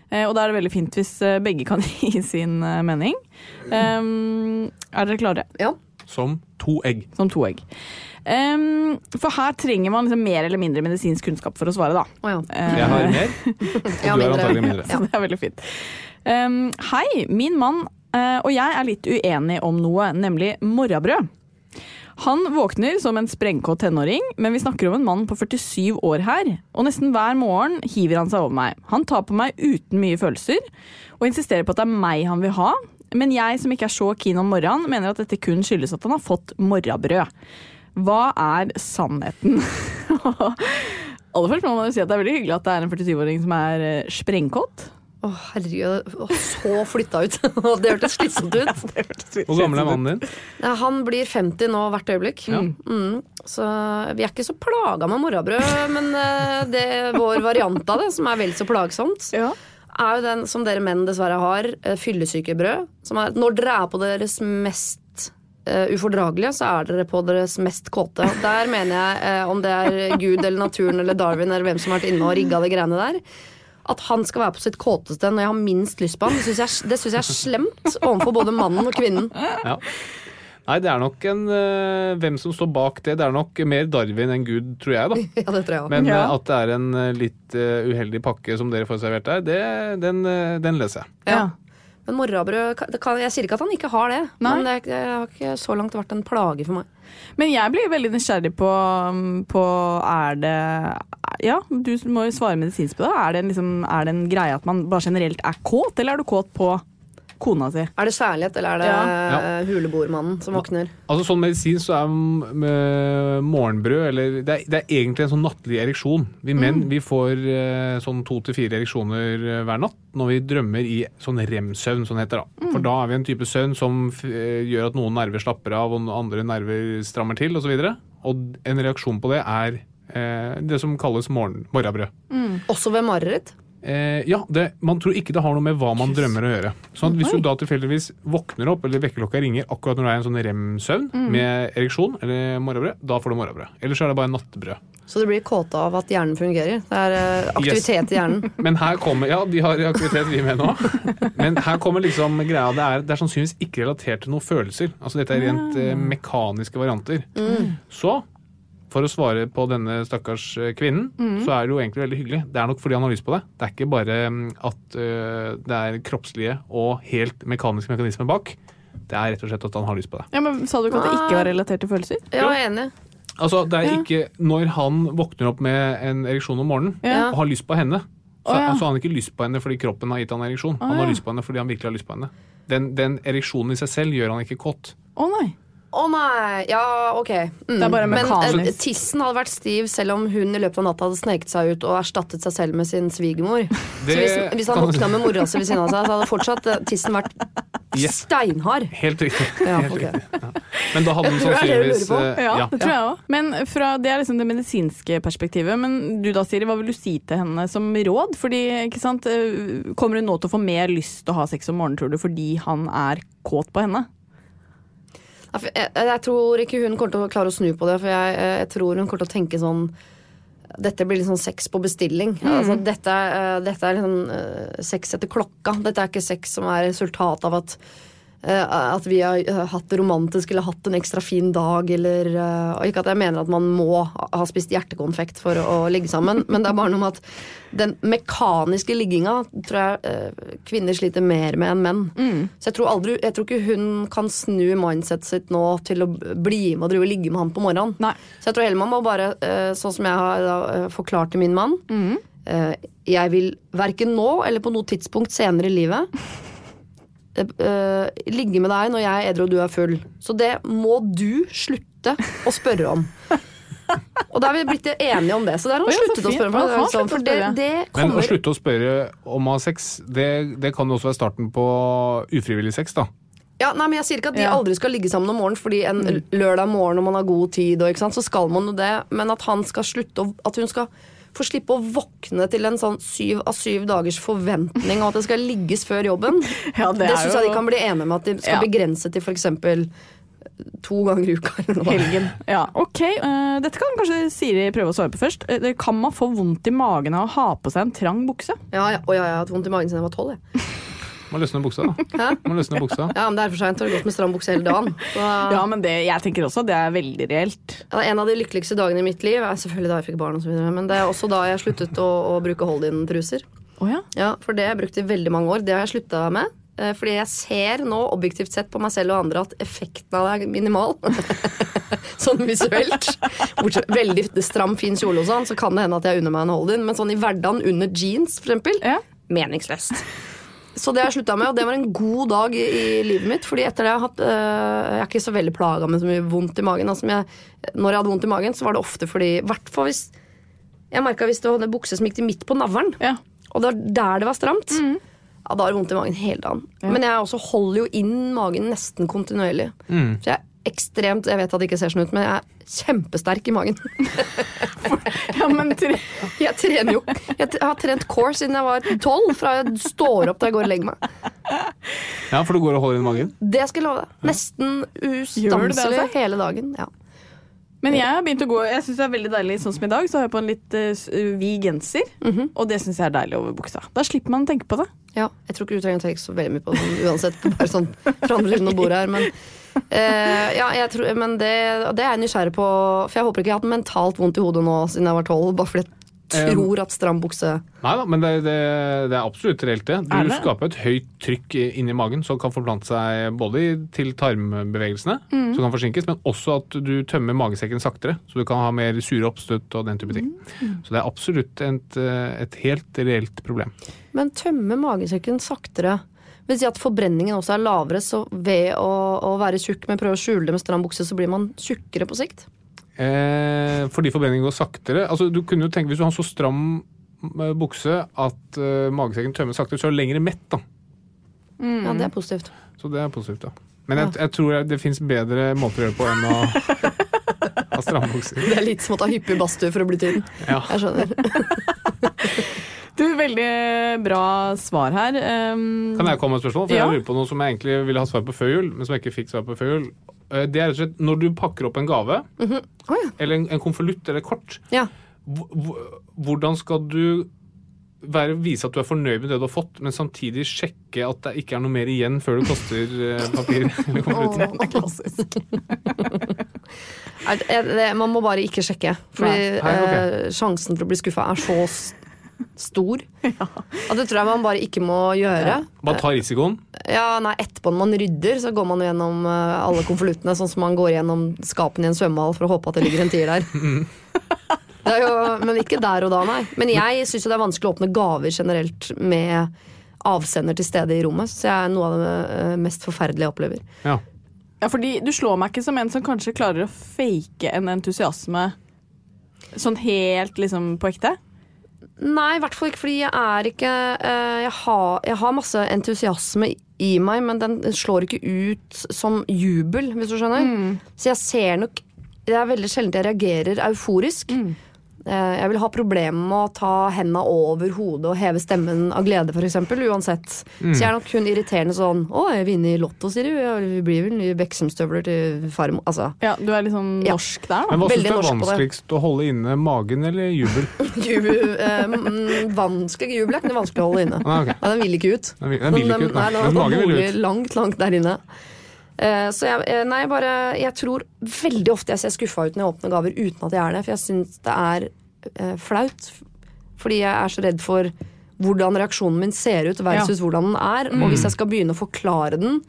Eh, og da er det veldig fint hvis eh, begge kan gi sin eh, mening. Ehm, er dere klare? Ja. Som to egg. Som to egg. Ehm, for her trenger man liksom mer eller mindre medisinsk kunnskap for å svare, da. Å ja. Eh, Jeg har mer, og Ja, du har mindre. antagelig mindre. Så det er veldig fint. Ehm, hei, min mann eh, og jeg er litt uenige om noe, nemlig morrabrød. Han våkner som en sprengkåt tenåring, men vi snakker om en mann på 47 år her. Og nesten hver morgen hiver han seg over meg. Han tar på meg uten mye følelser, og insisterer på at det er meg han vil ha. Men jeg som ikke er så keen om morgenen, mener at dette kun skyldes at han har fått morrabrød. Hva er sannheten? Aller først må man jo si at det er veldig hyggelig at det er en 47-åring som er eh, sprengkåt. Å Å, herregud. Å, så flytta ut. Og det hørtes slitsomt ut. Hvor gammel er mannen din? Nei, Han blir 50 nå hvert øyeblikk. Mm. Så vi er ikke så plaga med morrabrød, men eh, det, vår variant av det, som er vel så plagsomt, Ja. er jo den som dere menn dessverre har, eh, fyllesykebrød. Som er når dere er på deres mest eh, ufordragelige, så er dere på deres mest kåte. Der mener jeg, eh, om det er Gud eller naturen eller Darwin eller hvem som har vært inne og rigga de greiene der, at han skal være på sitt kåteste når jeg har minst lyst på han, det syns jeg, det synes jeg er slemt overfor både mannen og kvinnen. Ja. Nei, det er nok en eh, Hvem som står bak det, det er nok mer Darwin enn Gud, tror jeg, da. Ja, det tror jeg også. Men Ja. eh, at det er en eh, litt eh, uheldig pakke som dere får servert der, det, den, eh, den leser jeg. Ja. Men morrabrød det kan, Jeg sier ikke at han ikke har det, Nei. men det, det har ikke så langt vært en plage for meg. Men jeg blir veldig nysgjerrig på, um, på Er det Ja, du må jo svare medisinsk på det. Er det, en liksom, er det en greie at man bare generelt er kåt, eller er du kåt på kona si? Er det kjærlighet, eller er det Ja. eh, huleboermannen som våkner? Altså Sånn medisin så er mm, eh, morgenbrød eller det er, det er egentlig en sånn nattlig ereksjon. Vi menn vi får eh, sånn to til fire ereksjoner eh, hver natt når vi drømmer i sånn rem-søvn, som det heter. da. For da er vi en type søvn som f eh, gjør at noen nerver slapper av, og andre nerver strammer til osv. Og, så videre. og en reaksjon på det er eh, det som kalles morgen, morrabrød. Også ved mareritt? Eh, ja, det, Man tror ikke det har noe med hva man drømmer å gjøre. Sånn at Hvis du da tilfeldigvis våkner opp, eller vekkerklokka ringer akkurat når det er en sånn rem-søvn med ereksjon eller morrabrød, da får du morrabrød. Ellers er det bare nattbrød. Så du blir kåta av at hjernen fungerer? Det er eh, aktivitet i hjernen. Men her kommer Ja, de har aktivitet, vi med nå. Men her kommer liksom greia det er, det er sannsynligvis ikke relatert til noen følelser. Altså Dette er rent eh, mekaniske varianter. Så for å svare på denne stakkars eh, kvinnen, så er det jo egentlig veldig hyggelig. Det er nok fordi han har lyst på det. Det er ikke bare mm, at øh, det er kroppslige og helt mekaniske mekanismer bak. Det er rett og slett at han har lyst på det. Ja, men Sa du ikke at det ikke var relatert til følelser? Ja, jeg er enig. Altså, det er ikke Når han våkner opp med en ereksjon om morgenen Ja. og har lyst på henne, så Å, ja. altså, har han ikke lyst på henne fordi kroppen har gitt han ereksjon. han har ja. lyst på henne fordi han virkelig har lyst på henne. Den, den ereksjonen i seg selv gjør han ikke kåt. Å nei. Å nei! Ja, ok. Mm. Det er bare Men eh, mekanisk. tissen hadde vært stiv selv om hun i løpet av natta hadde sneket seg ut og erstattet seg selv med sin svigermor. Så Det hvis, hvis han kan- våkna med mora si ved siden av seg, så hadde fortsatt eh, tissen vært Yes. steinhard. Helt riktig. Ja, Helt ok. riktig. Ja. Men da hadde han tror det er det du sannsynligvis lurer eh, Ja, det tror jeg òg. Men fra, det er liksom det medisinske perspektivet. Men du da, Siri, hva vil du si til henne som råd? Fordi, ikke sant, øh, Kommer hun nå til å få mer lyst til å ha sex om morgenen, tror du, fordi han er kåt på henne? Ja, for Jeg, jeg tror ikke hun kommer til å klare å snu på det, for jeg, eh, jeg tror hun kommer til å tenke sånn dette blir liksom sex på bestilling. Altså, dette, er, eh, dette er liksom eh, sex etter klokka. Dette er ikke sex som er resultat av at, eh, at vi har eh, hatt det romantisk eller hatt en ekstra fin dag eller eh, og Ikke at jeg mener at man må ha spist hjertekonfekt for å ligge sammen, men det er bare noe med at den mekaniske ligginga tror jeg eh, kvinner sliter mer med enn menn. Så jeg tror, aldri, jeg tror ikke hun kan snu mindsetet sitt nå til å bli med og drive og ligge med han på morgenen. Nei. Så jeg tror heller man må bare, eh, sånn som jeg har da, eh, forklart til min mann Mm. eh, Jeg vil verken nå eller på noe tidspunkt senere i livet eh, eh, ligge med deg når jeg er edru og du er full. Så det må du slutte å spørre om. og da er vi blitt enige om det. Så det har Å han ja, så sluttet å fint. spørre om. Han For, det, har er sånn, sluttet å for det, spørre. det Men å kommer slutte å spørre om å ha sex, det, det kan jo også være starten på ufrivillig sex, da. Ja, nei, men Jeg sier ikke at de Ja. Mm. aldri skal ligge sammen om morgenen, fordi en l- lørdag morgen når man har god tid, og, ikke sant, så skal man jo det. Men at han skal slutte å, At hun skal få slippe å våkne til en sånn syv av syv dagers forventning og at det skal ligges før jobben, Ja, det, er syns jo jeg de kan bli enige med at de skal Ja. begrense til f.eks. to ganger i uka. Eller noe. Helgen. Ja, ok. øh, dette kan kanskje Siri prøve å svare på først. Eh, det- kan man få vondt i magen av å ha på seg en trang bukse? Ja, ja, å, ja, jeg har hatt vondt i magen siden jeg var tolv. jeg. Må løsne buksa, da. Må løsne buksa. Ja, men det er for seint. Har gått med stram bukse hele dagen. Så, ja. Ja, men det, jeg tenker også at det er veldig reelt. en av de lykkeligste dagene i mitt liv er selvfølgelig da jeg fikk barn, og så videre, men det er også da jeg sluttet å, å bruke hold-in-truser. Å ja. Ja, for det har jeg brukt i veldig mange år. Det har jeg slutta med. eh, Fordi jeg ser nå objektivt sett på meg selv og andre at effekten av det er minimal. sånn visuelt. Bortsett, veldig stram, fin kjole og sånn, så kan det hende at jeg unner meg en hold-in. Men sånn i hverdagen under jeans, for eksempel, Ja. meningsløst. Så det har jeg slutta med, og det var en god dag i, i livet mitt. fordi etter det har jeg hatt øh, Jeg er ikke så veldig plaga med så mye vondt i magen. Altså, men jeg, når jeg hadde vondt i magen, så var det ofte fordi I hvert fall hvis jeg merka hvis det var en bukse som gikk til midt på navlen. Ja. Mm. Og det var der det var stramt. Ja, da har jeg vondt i magen hele dagen. Men jeg også holder jo inn magen nesten kontinuerlig. Så jeg er ekstremt Jeg vet at det ikke ser sånn ut, men jeg er kjempesterk i magen. Ja, men tre... Jeg trener jo Jeg t- har trent core siden jeg var tolv, fra jeg står opp til jeg går og legger meg. Ja, for du går og holder inn magen? Det skal jeg love deg. Nesten Gjør du det, ustanselig altså? hele dagen. Ja. Men jeg har begynt å gå Jeg syns det er veldig deilig. Sånn som i dag, så har jeg på en litt eh, s- vid genser. Og det syns jeg er deilig over buksa. Da slipper man å tenke på det. Ja, jeg tror ikke du trenger å tenke så veldig mye på det sånn, uansett. Bare sånn fra andre siden av bordet her. Men, eh, ja, jeg tror, men det, og det er jeg nysgjerrig på. For jeg håper ikke jeg har hatt mentalt vondt i hodet nå siden jeg var tolv. Bare fordi jeg tror at stram bukse Nei da, men det, det, det er absolutt reelt, det. Er Du det? skaper et høyt trykk i- inni magen som kan forplante seg både i- til tarmbevegelsene, Mm. som kan forsinkes, men også at du tømmer magesekken saktere. Så du kan ha mer sure oppstøt og den type ting. Mm. Så det er absolutt et, eh, et helt reelt problem. Men tømme magesekken saktere. Vil si at forbrenningen også er lavere, så ved å, å være tjukk, men prøve å skjule det med stram bukse, så blir man tjukkere på sikt. Eh, fordi forbrenningen går saktere. Altså, du kunne jo tenke, Hvis du har en så stram eh, bukse at eh, magesekken tømmes saktere, så er du lenger mett. da. Ja, Mm. det er positivt. Så det er positivt. da. Men jeg, jeg tror det fins bedre måter å gjøre det på enn å ha stramme bukser. Det er litt som å ta hyppig badstue for å bli tynn. Ja. Jeg skjønner. Du, veldig eh, bra svar her. Um, Kan jeg komme med et spørsmål? For Ja. Jeg lurer på noe som jeg egentlig ville ha svar på før jul, men som jeg ikke fikk svar på før jul. Eh, Det er rett og slett når du pakker opp en gave, Mhm. Å ja. eller en, en konvolutt eller et kort, ja. hv- hv- hvordan skal du være, vise at du er fornøyd med det du har fått, men samtidig sjekke at det ikke er noe mer igjen før du kaster eh, papiret eller konvolutten? Åh. Nei, det- det, man må bare ikke sjekke. Fordi Nei. Nei, ok. eh, sjansen for å bli skuffa er så s- stor. At det tror jeg man bare ikke må gjøre. Bare ta risikoen. Ja, nei, Etterpå når man rydder, så går man jo gjennom eh, alle konvoluttene. Sånn som man går gjennom skapene i en svømmehall for å håpe at det ligger en tier der. Mm. Det er jo, men ikke der og da, nei. Men jeg syns jo det er vanskelig å åpne gaver generelt med avsender til stede i rommet. Så jeg er noe av det eh, mest forferdelige jeg opplever. Ja. ja, fordi du slår meg ikke som en som kanskje klarer å fake en entusiasme sånn helt liksom på ekte. Nei, i hvert fall ikke fordi jeg er ikke eh, jeg, har, jeg har masse entusiasme i meg, men den slår ikke ut som jubel, hvis du skjønner. Så jeg ser nok Det er veldig sjelden jeg reagerer euforisk. Eh, Jeg vil ha problemer med å ta henda over hodet og heve stemmen av glede, f.eks. Uansett. Så jeg er nok kun irriterende sånn Å, jeg vinner i Lotto, sier du. Ja, Vi blir vel nye Beksumstøvler til farmor. Altså, Ja, Du er litt sånn Ja. norsk der, da. Men hva syns du Veldig er norsk på det. vanskeligst, å holde inne magen eller jubel? jubel, eh, mm, vanskelig jubel er ikke noe vanskelig å holde inne. Nei, Ah, ok. Nei, den vil ikke ut. Den vil- den vil ikke ut, nei. Men nei, den magen vil borer ut. langt, langt der inne. Eh, Så jeg, eh, nei, jeg bare, jeg tror veldig ofte jeg ser skuffa ut når jeg åpner gaver uten at jeg er det. For jeg syns det er eh, flaut. Fordi jeg er så redd for hvordan reaksjonen min ser ut versus hvordan den er. Og Mm. hvis jeg skal begynne å forklare den,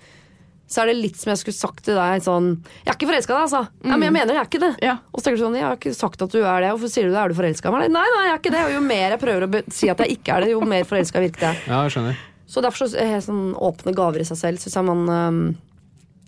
så er det litt som jeg skulle sagt til deg sånn Jeg er ikke forelska i deg, altså. Nei, men jeg mener jeg er ikke det. Mm. Ja. Og så tenker du sånn, jeg har ikke sagt at du er det. Hvorfor sier du det? Er du forelska i meg? Nei, nei, jeg er ikke det. Og jo mer jeg prøver å be- si at jeg ikke er det, jo mer forelska virker jeg. Ja, jeg skjønner. Så derfor så er jeg sånn åpne gaver i seg selv syns jeg man ehm,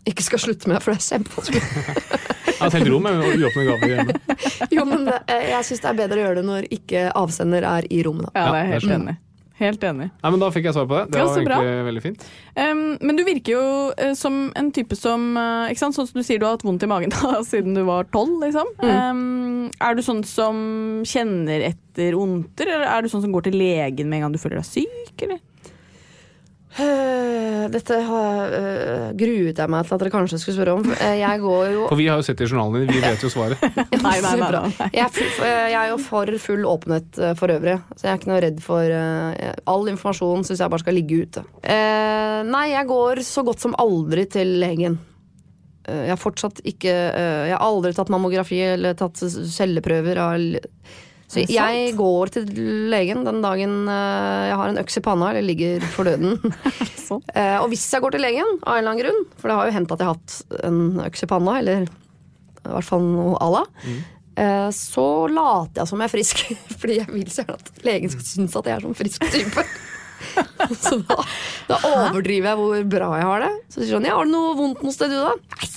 ikke skal slutte med, for det er kjempevanskelig. Jeg har et helt rom med uåpne gaver hjemme. Jo, men eh, jeg syns det er bedre å gjøre det når ikke avsender er i rommet, da. Ja, det er jeg Ja, helt det er enig. Helt enig. Nei, men Da fikk jeg svar på det. Det Ja, var så bra. egentlig veldig fint. Um, men du virker jo eh, som en type som eh, ikke sant? Sånn som du sier du har hatt vondt i magen da, siden du var tolv. Liksom. Um, er du sånn som kjenner etter ondter, eller er du sånn som går til legen med en gang du føler deg syk? Eller? Eh, Dette har, eh, gruet jeg meg til at dere kanskje skulle spørre om. for, eh, Jeg går jo For vi har jo sett i journalene dine, vi vet jo svaret. Nei, nei, nei, Bra. nei, nei. Jeg, er full- jeg er jo for full åpenhet eh, for øvrig, så jeg er ikke noe redd for eh, All informasjon syns jeg bare skal ligge ute. Eh, nei, jeg går så godt som aldri til legen. Eh, jeg har fortsatt ikke eh, Jeg har aldri tatt mammografi eller tatt s- celleprøver. av l- Så det sant? jeg går til legen den dagen eh, jeg har en øks i panna eller ligger for døden. Sånn. Eh, og hvis jeg går til legen, av en eller annen grunn, for det har jo hendt at jeg har hatt en øks i panna, eller i hvert fall noe à la, Mm. eh, så later jeg som jeg er frisk. Fordi jeg vil så gjerne at legen skal synes at jeg er sånn frisk type. så da, da overdriver jeg hvor bra jeg har det. Så sier sånn, ja, har du noe vondt noe sted du da? Nei.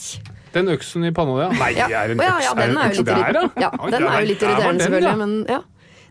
Den øksen i panna di, ja. Nei, Ja, er en Å ja, øks, ja, den en er øks jo litt, der, irri- da? ja, den er jo litt irriterende, selvfølgelig. Men ja.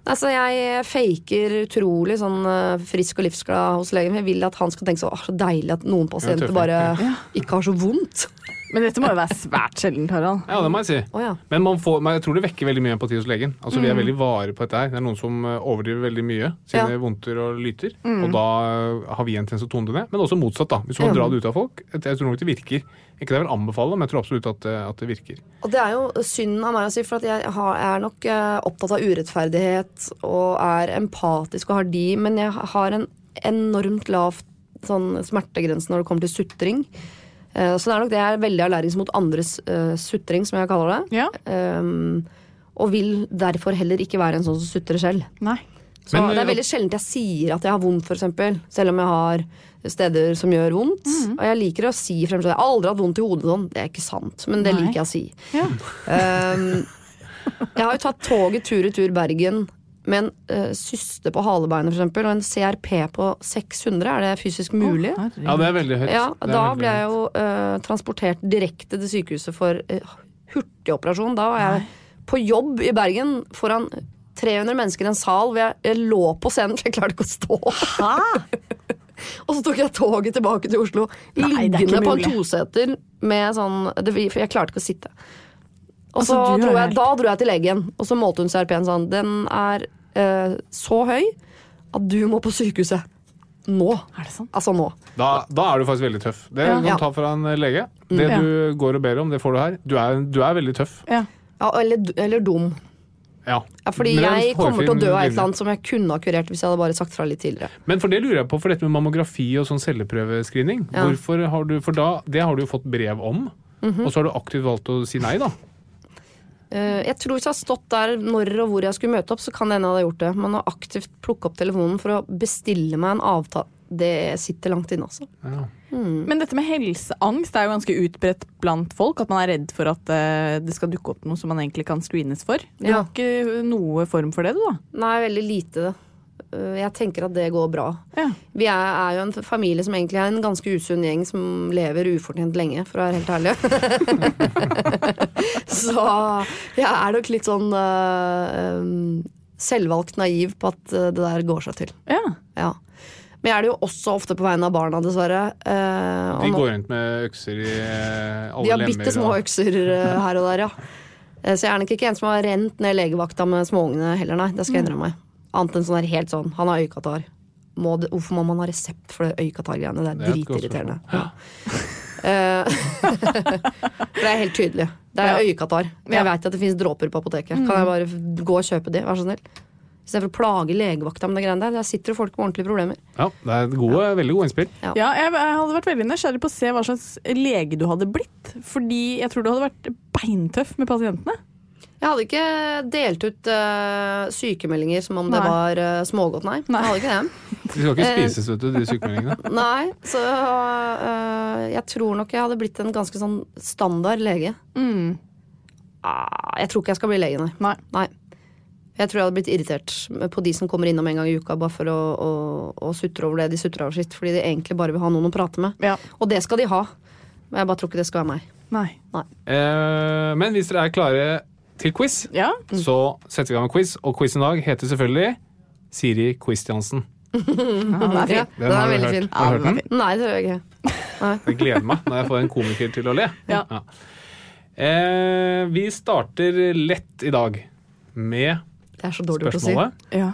Altså, jeg faker utrolig sånn eh, frisk og livsglad hos legen. men Jeg vil at han skal tenke så, «Åh, så deilig at noen pasienter tøffe. bare ikke har så vondt. Men dette må jo være svært sjeldent, Harald. Ja, det må jeg si. Å ja. Mm. Men man får, men jeg tror det vekker veldig mye empati hos legen. Altså, Vi er veldig vare på dette her. Det er noen som eh, overdriver veldig mye. Sine Ja. Mm. vondter og lyter. Og da eh, har vi en tendens til å tone det ned. Men også motsatt, da. Hvis man drar det ut av folk. Jeg tror nok det virker. Ikke det jeg vil anbefale, men jeg tror absolutt at, eh, at det virker. Og det er jo synd av meg å si, for at jeg har, er nok eh, opptatt av urettferdighet og er empatisk og har de, men jeg har en enormt lav sånn, smertegrense når det kommer til sutring. Eh, Så det er nok det jeg er veldig allergisk mot andres eh, sutring, som jeg kaller det. Ja. Ehm, og vil derfor heller ikke være en sånn som sutrer selv. Nei. Så Men, Det eh, er veldig sjelden jeg sier at jeg har vondt, f.eks. Selv om jeg har steder som gjør vondt. Mhm. Og jeg liker å si fremst at jeg aldri har hatt vondt i hodet sånn. Det er ikke sant, men det Nei. liker jeg å si. Ja. Ehm, jeg har jo tatt toget tur-retur Bergen med en eh, syste på halebeinet, f.eks., og en CRP på 600. Er det fysisk mulig? Ja, det er veldig høyt. ja, Det er da veldig ble jeg høyt. jo eh, transportert direkte til sykehuset for uh, hurtigoperasjon. Da var jeg på jobb i Bergen foran 300 mennesker i en sal hvor jeg, jeg lå på scenen, for jeg klarte ikke å stå. Og så tok jeg toget tilbake til Oslo Nei, det er ikke liggende på en mulig. toseter med sånn det, For jeg klarte ikke å sitte. Og Altså, så du dro er jeg, helt- da dro jeg til legen, og så målte hun CRP-en sånn. Den er eh, så høy at du må på sykehuset. Nå. Er det sant? Altså nå. Da, da er du faktisk veldig tøff. Det Ja. kan du Ja. Mm. ta fra en lege. Det Ja. du går og ber om, det får du her. Du er, du er veldig tøff. Ja. Ja, eller, eller dum. Ja. Ja, fordi Men det er en jeg kommer til å hårfin dø av et linje. eller annet som jeg kunne ha kurert hvis jeg hadde bare sagt fra litt tidligere. Men for det lurer jeg på, for dette med mammografi og sånn celleprøvescreening Ja. hvorfor har du, For da, det har du jo fått brev om, Mhm. og så har du aktivt valgt å si nei, da. Eh, Jeg tror hvis jeg hadde stått der når og hvor jeg skulle møte opp, så kan det hende jeg hadde gjort det. Men å aktivt plukke opp telefonen for å bestille meg en avtale, det sitter langt inne, altså. Men dette med helseangst er jo ganske utbredt blant folk. At man er redd for at eh, det skal dukke opp noe som man egentlig kan screenes for. Du Ja. har ikke noe form for det, du da? Nei, veldig lite. Eh, Jeg tenker at det går bra. Ja. Vi er, er jo en familie som egentlig er en ganske usunn gjeng som lever ufortjent lenge, for å være helt ærlig. så jeg er nok litt sånn eh, um, selvvalgt naiv på at eh, det der går seg til. ja. Ja. Men jeg er det jo også ofte på vegne av barna, dessverre. Eh, og De nå- går rundt med økser i eh, alle de har lemmer. bitte små og- økser eh, her og der, ja. Eh, Så jeg er nok ikke en som har rent ned legevakta med småungene heller, nei. Det skal jeg innrømme meg. Annet enn sånn der helt sånn. Han har øyekatarr. Må det, hvorfor må man ha resept for det øyekatarr-greiene? Det Det er er et godt dritirriterende. Ja. Eh, det er helt tydelig. Det er øyekatarr. Jeg veit at det finnes dråper på apoteket. Kan jeg bare f- gå og kjøpe de, vær så snill? Istedenfor å plage legevakta med de greiene der. Der sitter det folk med ordentlige problemer. Ja, det er gode, veldig gode innspill. Ja. ja, jeg, jeg hadde vært veldig nysgjerrig på å se hva slags lege du hadde blitt. Fordi jeg tror du hadde vært beintøff med pasientene. Jeg hadde ikke delt ut eh, sykemeldinger som om det Nei. var eh, smågodt, nei. Nei. Jeg hadde ikke det. De skal Eh. ikke spises, vet du, de sykemeldingene. Nei, så eh, jeg tror nok jeg hadde blitt en ganske sånn standard lege. Ah, jeg tror ikke jeg skal bli lege, nei. Nei. nei. Jeg tror jeg hadde blitt irritert på de som kommer innom en gang i uka bare for å, å, å sutre over det de sutrer over sitt, fordi de egentlig bare vil ha noen å prate med. Ja. Og det skal de ha. Men jeg bare tror ikke det skal være meg. Nei. Eh, men hvis dere er klare til quiz, Ja. Mm. så setter vi i gang med quiz. Og quizen i dag heter selvfølgelig Siri Christiansen. Han er Mhm. Ja, fin. har den er du veldig hørt. fin. Har du hørt den? Nei, det tror jeg ikke. Jeg gleder meg når jeg får en komiker til å le. Ja. Eh, vi starter lett i dag med Det er så dårlig gjort å si. spørsmålet. Ja.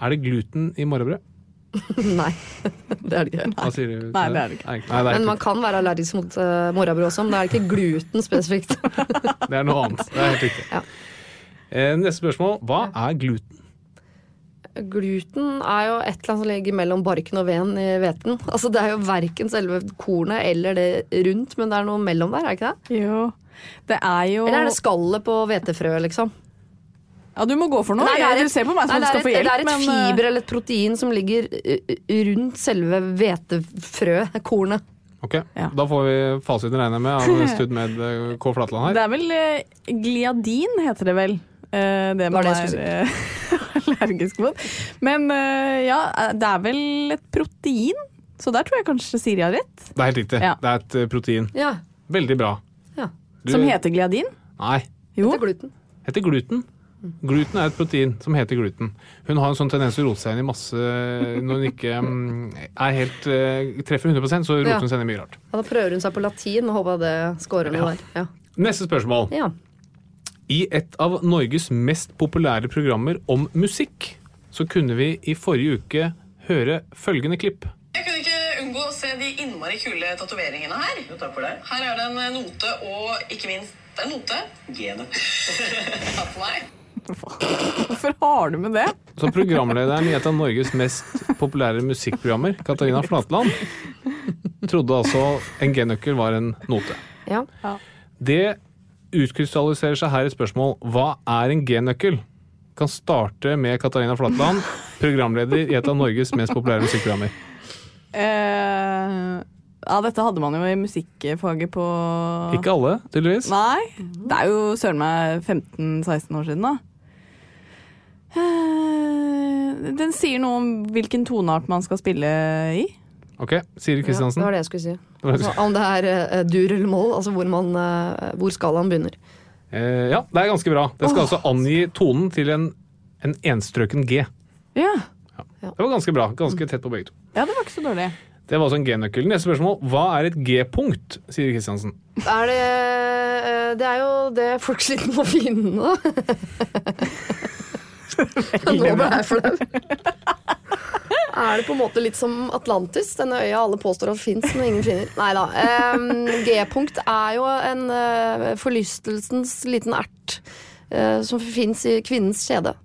Er det gluten i morgenbrød? Nei, det er det ikke. Hva sier du? Nei, det er det ikke. Nei, nei, det, er Men man ikke. kan være allergisk mot uh, morrabrød også, men det er ikke gluten spesifikt. det er noe annet. Det er helt riktig. Ja. Eh, neste spørsmål. Hva er gluten? gluten er jo et eller annet som ligger mellom barken og veden i hveten. Altså det er jo verken selve kornet eller det rundt, men det er noe mellom der, er det ikke det? Jo. Det er jo Eller er det skallet på hvetefrøet, liksom? Ja, du må gå for noe. Nei, det er du et- ser på meg som om nei, du det er skal få et- hjelp, Det er et men, eh, fiber eller et protein som ligger uh, uh, rundt selve hvetefrøet, kornet. Ok, Ja. Da får vi fasiten regner med av Stud med eh, K. Flatland her. Det er vel eh, gliadin, heter det vel. eh, det man det jeg er skulle eh, allergisk mot. Men eh, ja, det er vel et protein, så der tror jeg kanskje Siri har rett. Det er helt riktig. Ja. Det er et eh, protein. Ja, Veldig bra. ja. Du- Som heter gliadin. Nei. Jo. Det er gluten. Heter gluten. Gluten er et protein som heter gluten. Hun har en sånn tendens til å rote seg inn i masse når hun ikke mm, er helt eh, treffer 100 så roter Ja. hun seg inn i mye rart. Ja, da prøver hun seg på latin og håper at det scorer noe der. Neste spørsmål. Ja. ja. I et av Norges mest populære programmer om musikk, så kunne vi i forrige uke høre følgende klipp. Jeg kunne ikke unngå å se de innmari kule tatoveringene her. Jo, takk for det. Her er det en eh, note og ikke minst en note. Genet. takk for meg. Hvorfor har du med det? Så programlederen i et av Norges mest populære musikkprogrammer, Katarina Flatland, trodde altså en G-nøkkel var en note. ja. Det utkrystalliserer seg her et spørsmål. Hva er en G-nøkkel? Kan starte med Katarina Flatland, programleder i et av Norges mest populære musikkprogrammer. Eh, ja, dette hadde man jo i musikkfaget på Ikke alle, tydeligvis. Nei. Det er jo søren meg 15-16 år siden, da. Eh, Den sier noe om hvilken toneart man skal spille i. Ok, Siri Kristiansen. Det var det jeg skulle si. var det du Om det er eh, dur eller moll, altså hvor, man, eh, hvor skalaen begynner. Eh, ja, det er ganske bra. Det skal altså angi tonen til en, en enstrøken G. Ja. Det var ganske bra. Ganske tett på begge to. ja, det var ikke så dårlig. Det var altså en G-nøkkel. Neste spørsmål. Hva er et G-punkt, Siri Kristiansen? Er det, eh, det er jo det folk sliter med å finne. Nå ble jeg flau. Er det på en måte litt som Atlantis, denne øya alle påstår at fins, men ingen finner? Nei da. em, G-punkt er jo en eh, forlystelsens liten ert eh, som fins i kvinnens kjede.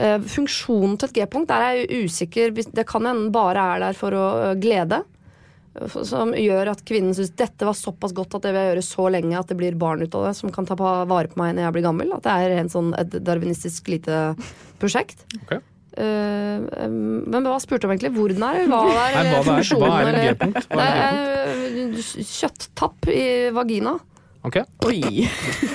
Eh, funksjonen til et G-punkt der er jeg usikker. Det kan hende den bare er der for å eh, glede. eh, Som gjør at kvinnen syns dette var såpass godt at det vil jeg gjøre så lenge at det blir barn ut av det som kan ta pa- vare på meg når jeg blir gammel. At det er en sånn et darwinistisk lite prosjekt. Ok. Eh, eh, men hva spurte du om egentlig? Hvor den er? Hva er Nei, hva det er. funksjonen? Hva er en eller- G-punkt? Hva Det er en G-punkt? er eh, kjøtttapp i vagina. Ok, Oi.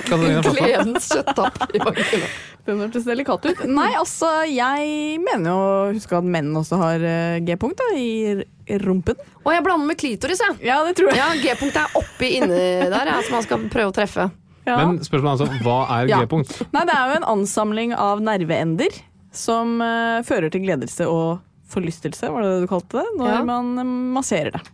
Katarina Flatland. Gledens kjøtttapp i vagina. Den hørtes delikat ut. Nei, altså, jeg mener jo å huske at menn også har eh, G-punkt da, i r- rumpen. Og jeg blander med klitoris, jeg. Ja, det tror jeg. Ja, G-punkt er oppi inni der, ja, som man skal prøve å treffe. Ja. Men spørsmålet er altså hva er Ja. G-punkt? Nei, det er jo en ansamling av nerveender som eh, fører til gledelse og forlystelse, var det det du kalte det, når Ja. man eh, masserer det.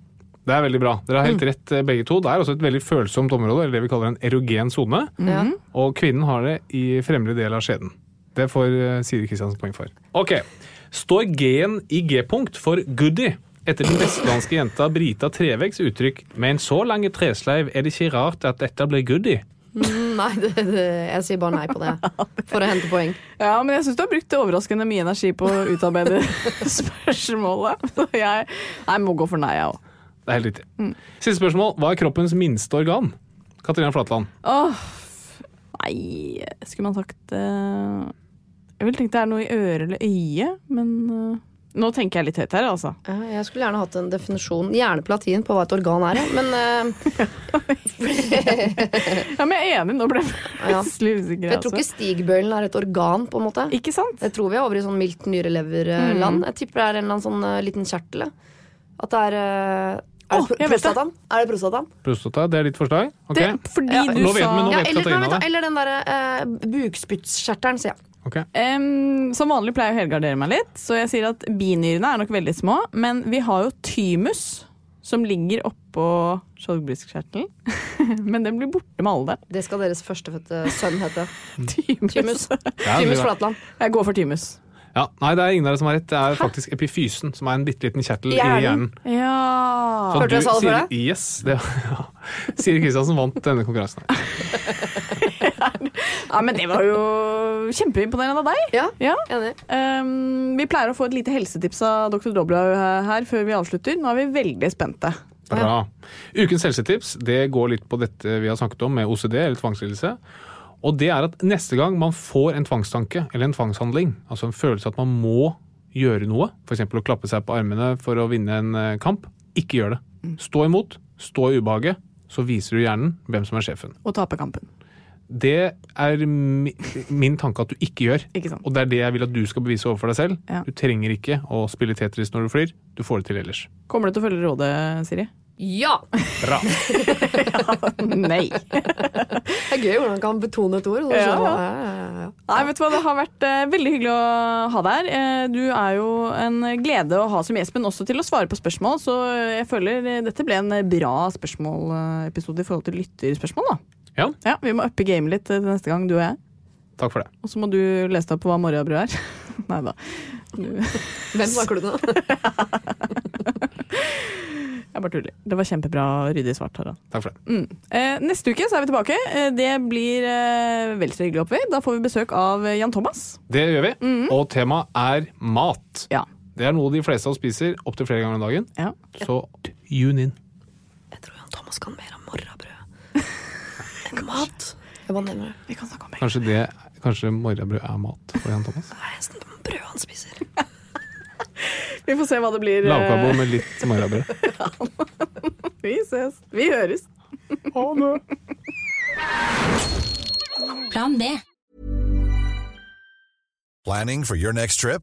Det er veldig bra. Dere har Mm. helt rett, eh, begge to. Det er også et veldig følsomt område, eller det vi kaller en erogen sone. Ja. Mhm. Og kvinnen har det i fremre del av skjeden. Det får eh, Siri Kristiansen poeng for. Ok, Står G-en i G-punkt for goodie? Etter den vestlandske jenta Brita Trevegs uttrykk 'med en så lang tresleiv er det ikke rart at dette blir goodie'. Mm, Nei, det, det, jeg sier bare nei på det. For å hente poeng. Ja, men jeg syns du har brukt overraskende mye energi på å utarbeide spørsmålet. Så jeg, nei, jeg må gå for nei, jeg òg. Det er helt riktig. Mm. Siste spørsmål. Hva er kroppens minste organ? Katarina Flatland. Åh, nei Skulle man sagt eh, Jeg ville tenkt det er noe i øret eller øyet, men eh, Nå tenker jeg litt høyt her, altså. Ja, jeg skulle gjerne hatt en definisjon, gjerne på latin, på hva et organ er. ja. Men eh, Ja, men jeg er enig, nå ble jeg Ja. plutselig usikker. jeg tror altså. ikke stigbøylen er et organ, på en måte. Ikke sant? Jeg tror vi er over i sånn mildt nyreleverland. Mhm. Jeg tipper det er en eller annen sånn eh, liten kjertel. ja. At det er eh, Er det Åh, pro- jeg vet det. prostataen? Er det prostataen? Prostata, det er ditt forslag? Ok. Det, fordi Ja, du nå vet sa vi, nå Ja, vet eller, nei, Katarina vent, da, det. eller den derre eh, bukspyttkjertelen, sier jeg. Ok. Em, som vanlig pleier jeg å helgardere meg litt, så jeg sier at binyrene er nok veldig små. Men vi har jo thymus, som ligger oppå skjoldbrystkjertelen. men den blir borte med alderen. Det skal deres førstefødte sønn hete. Thymus. Thymus. Ja, det Thymus blir bra. Flatland. Jeg går for thymus. Ja, nei, det er ingen av dere som har rett. Det er faktisk epifysen, som er en bitte liten kjertel i Hjernen. hjernen. Sånn Ja Hørte du jeg sa det før Siri- Yes. Det, ja. Siri Kristiansen vant denne konkurransen. her. Ja, men det var jo kjempeimponerende av deg. Ja, Ja. enig. Ehm, vi pleier å få et lite helsetips av dr. Doblaug her før vi avslutter. Nå er vi veldig spente. Bra. Ukens helsetips det går litt på dette vi har snakket om med OCD, eller tvangslidelse. Og det er at neste gang man får en tvangstanke eller en tvangshandling, altså en følelse at man må gjøre noe, f.eks. å klappe seg på armene for å vinne en eh, kamp, ikke gjør det. Mm. Stå imot, stå i ubehaget, så viser du hjernen hvem som er sjefen. Og taper kampen. Det er mi, min tanke at du ikke gjør. Ikke sant? Og det er det jeg vil at du skal bevise overfor deg selv. Ja. Du trenger ikke å spille Tetris når du flyr. Du får det til ellers. Kommer du til å følge rådet, Siri? Ja! Bra. Nei. Det er gøy hvordan man kan betone et ord. og så Ja, skjønner ja. man, ja, ja, ja. Nei, vet du hva, det har vært eh, veldig hyggelig å ha deg her. Eh, du er jo en glede å ha som gjest, men også til å svare på spørsmål. Så eh, jeg føler eh, dette ble en eh, bra spørsmålepisode i forhold til lytterspørsmål, da. Ja, Ja, vi må uppe gamet litt eh, til neste gang, du og jeg. takk for det. Og så må du lese deg opp på hva morgenbrød er. Nei da. Hvem snakker du til nå? Jeg bare tuller. Det var kjempebra ryddig svart, Harald. Takk for det. Eh, neste uke så er vi tilbake. Eh, det blir eh, vel så hyggelig, håper vi. Da får vi besøk av eh, Jan Thomas. Det gjør vi. Mm. Og temaet er mat. Ja. Det er noe de fleste av oss spiser opptil flere ganger om dagen. ja. Så tune in. Jeg tror Jan Thomas kan mer om morrabrød enn mat. Jeg bare nevner det. Vi kan snakke om det. Kanskje, det, kanskje morgenbrød er mat for Jan Thomas? Det er nesten brød han spiser. Vi får se hva det blir. eh, Lavkarbo med litt morgenbrød. Vi ses. Vi høres. Plan B. Planning for your next trip?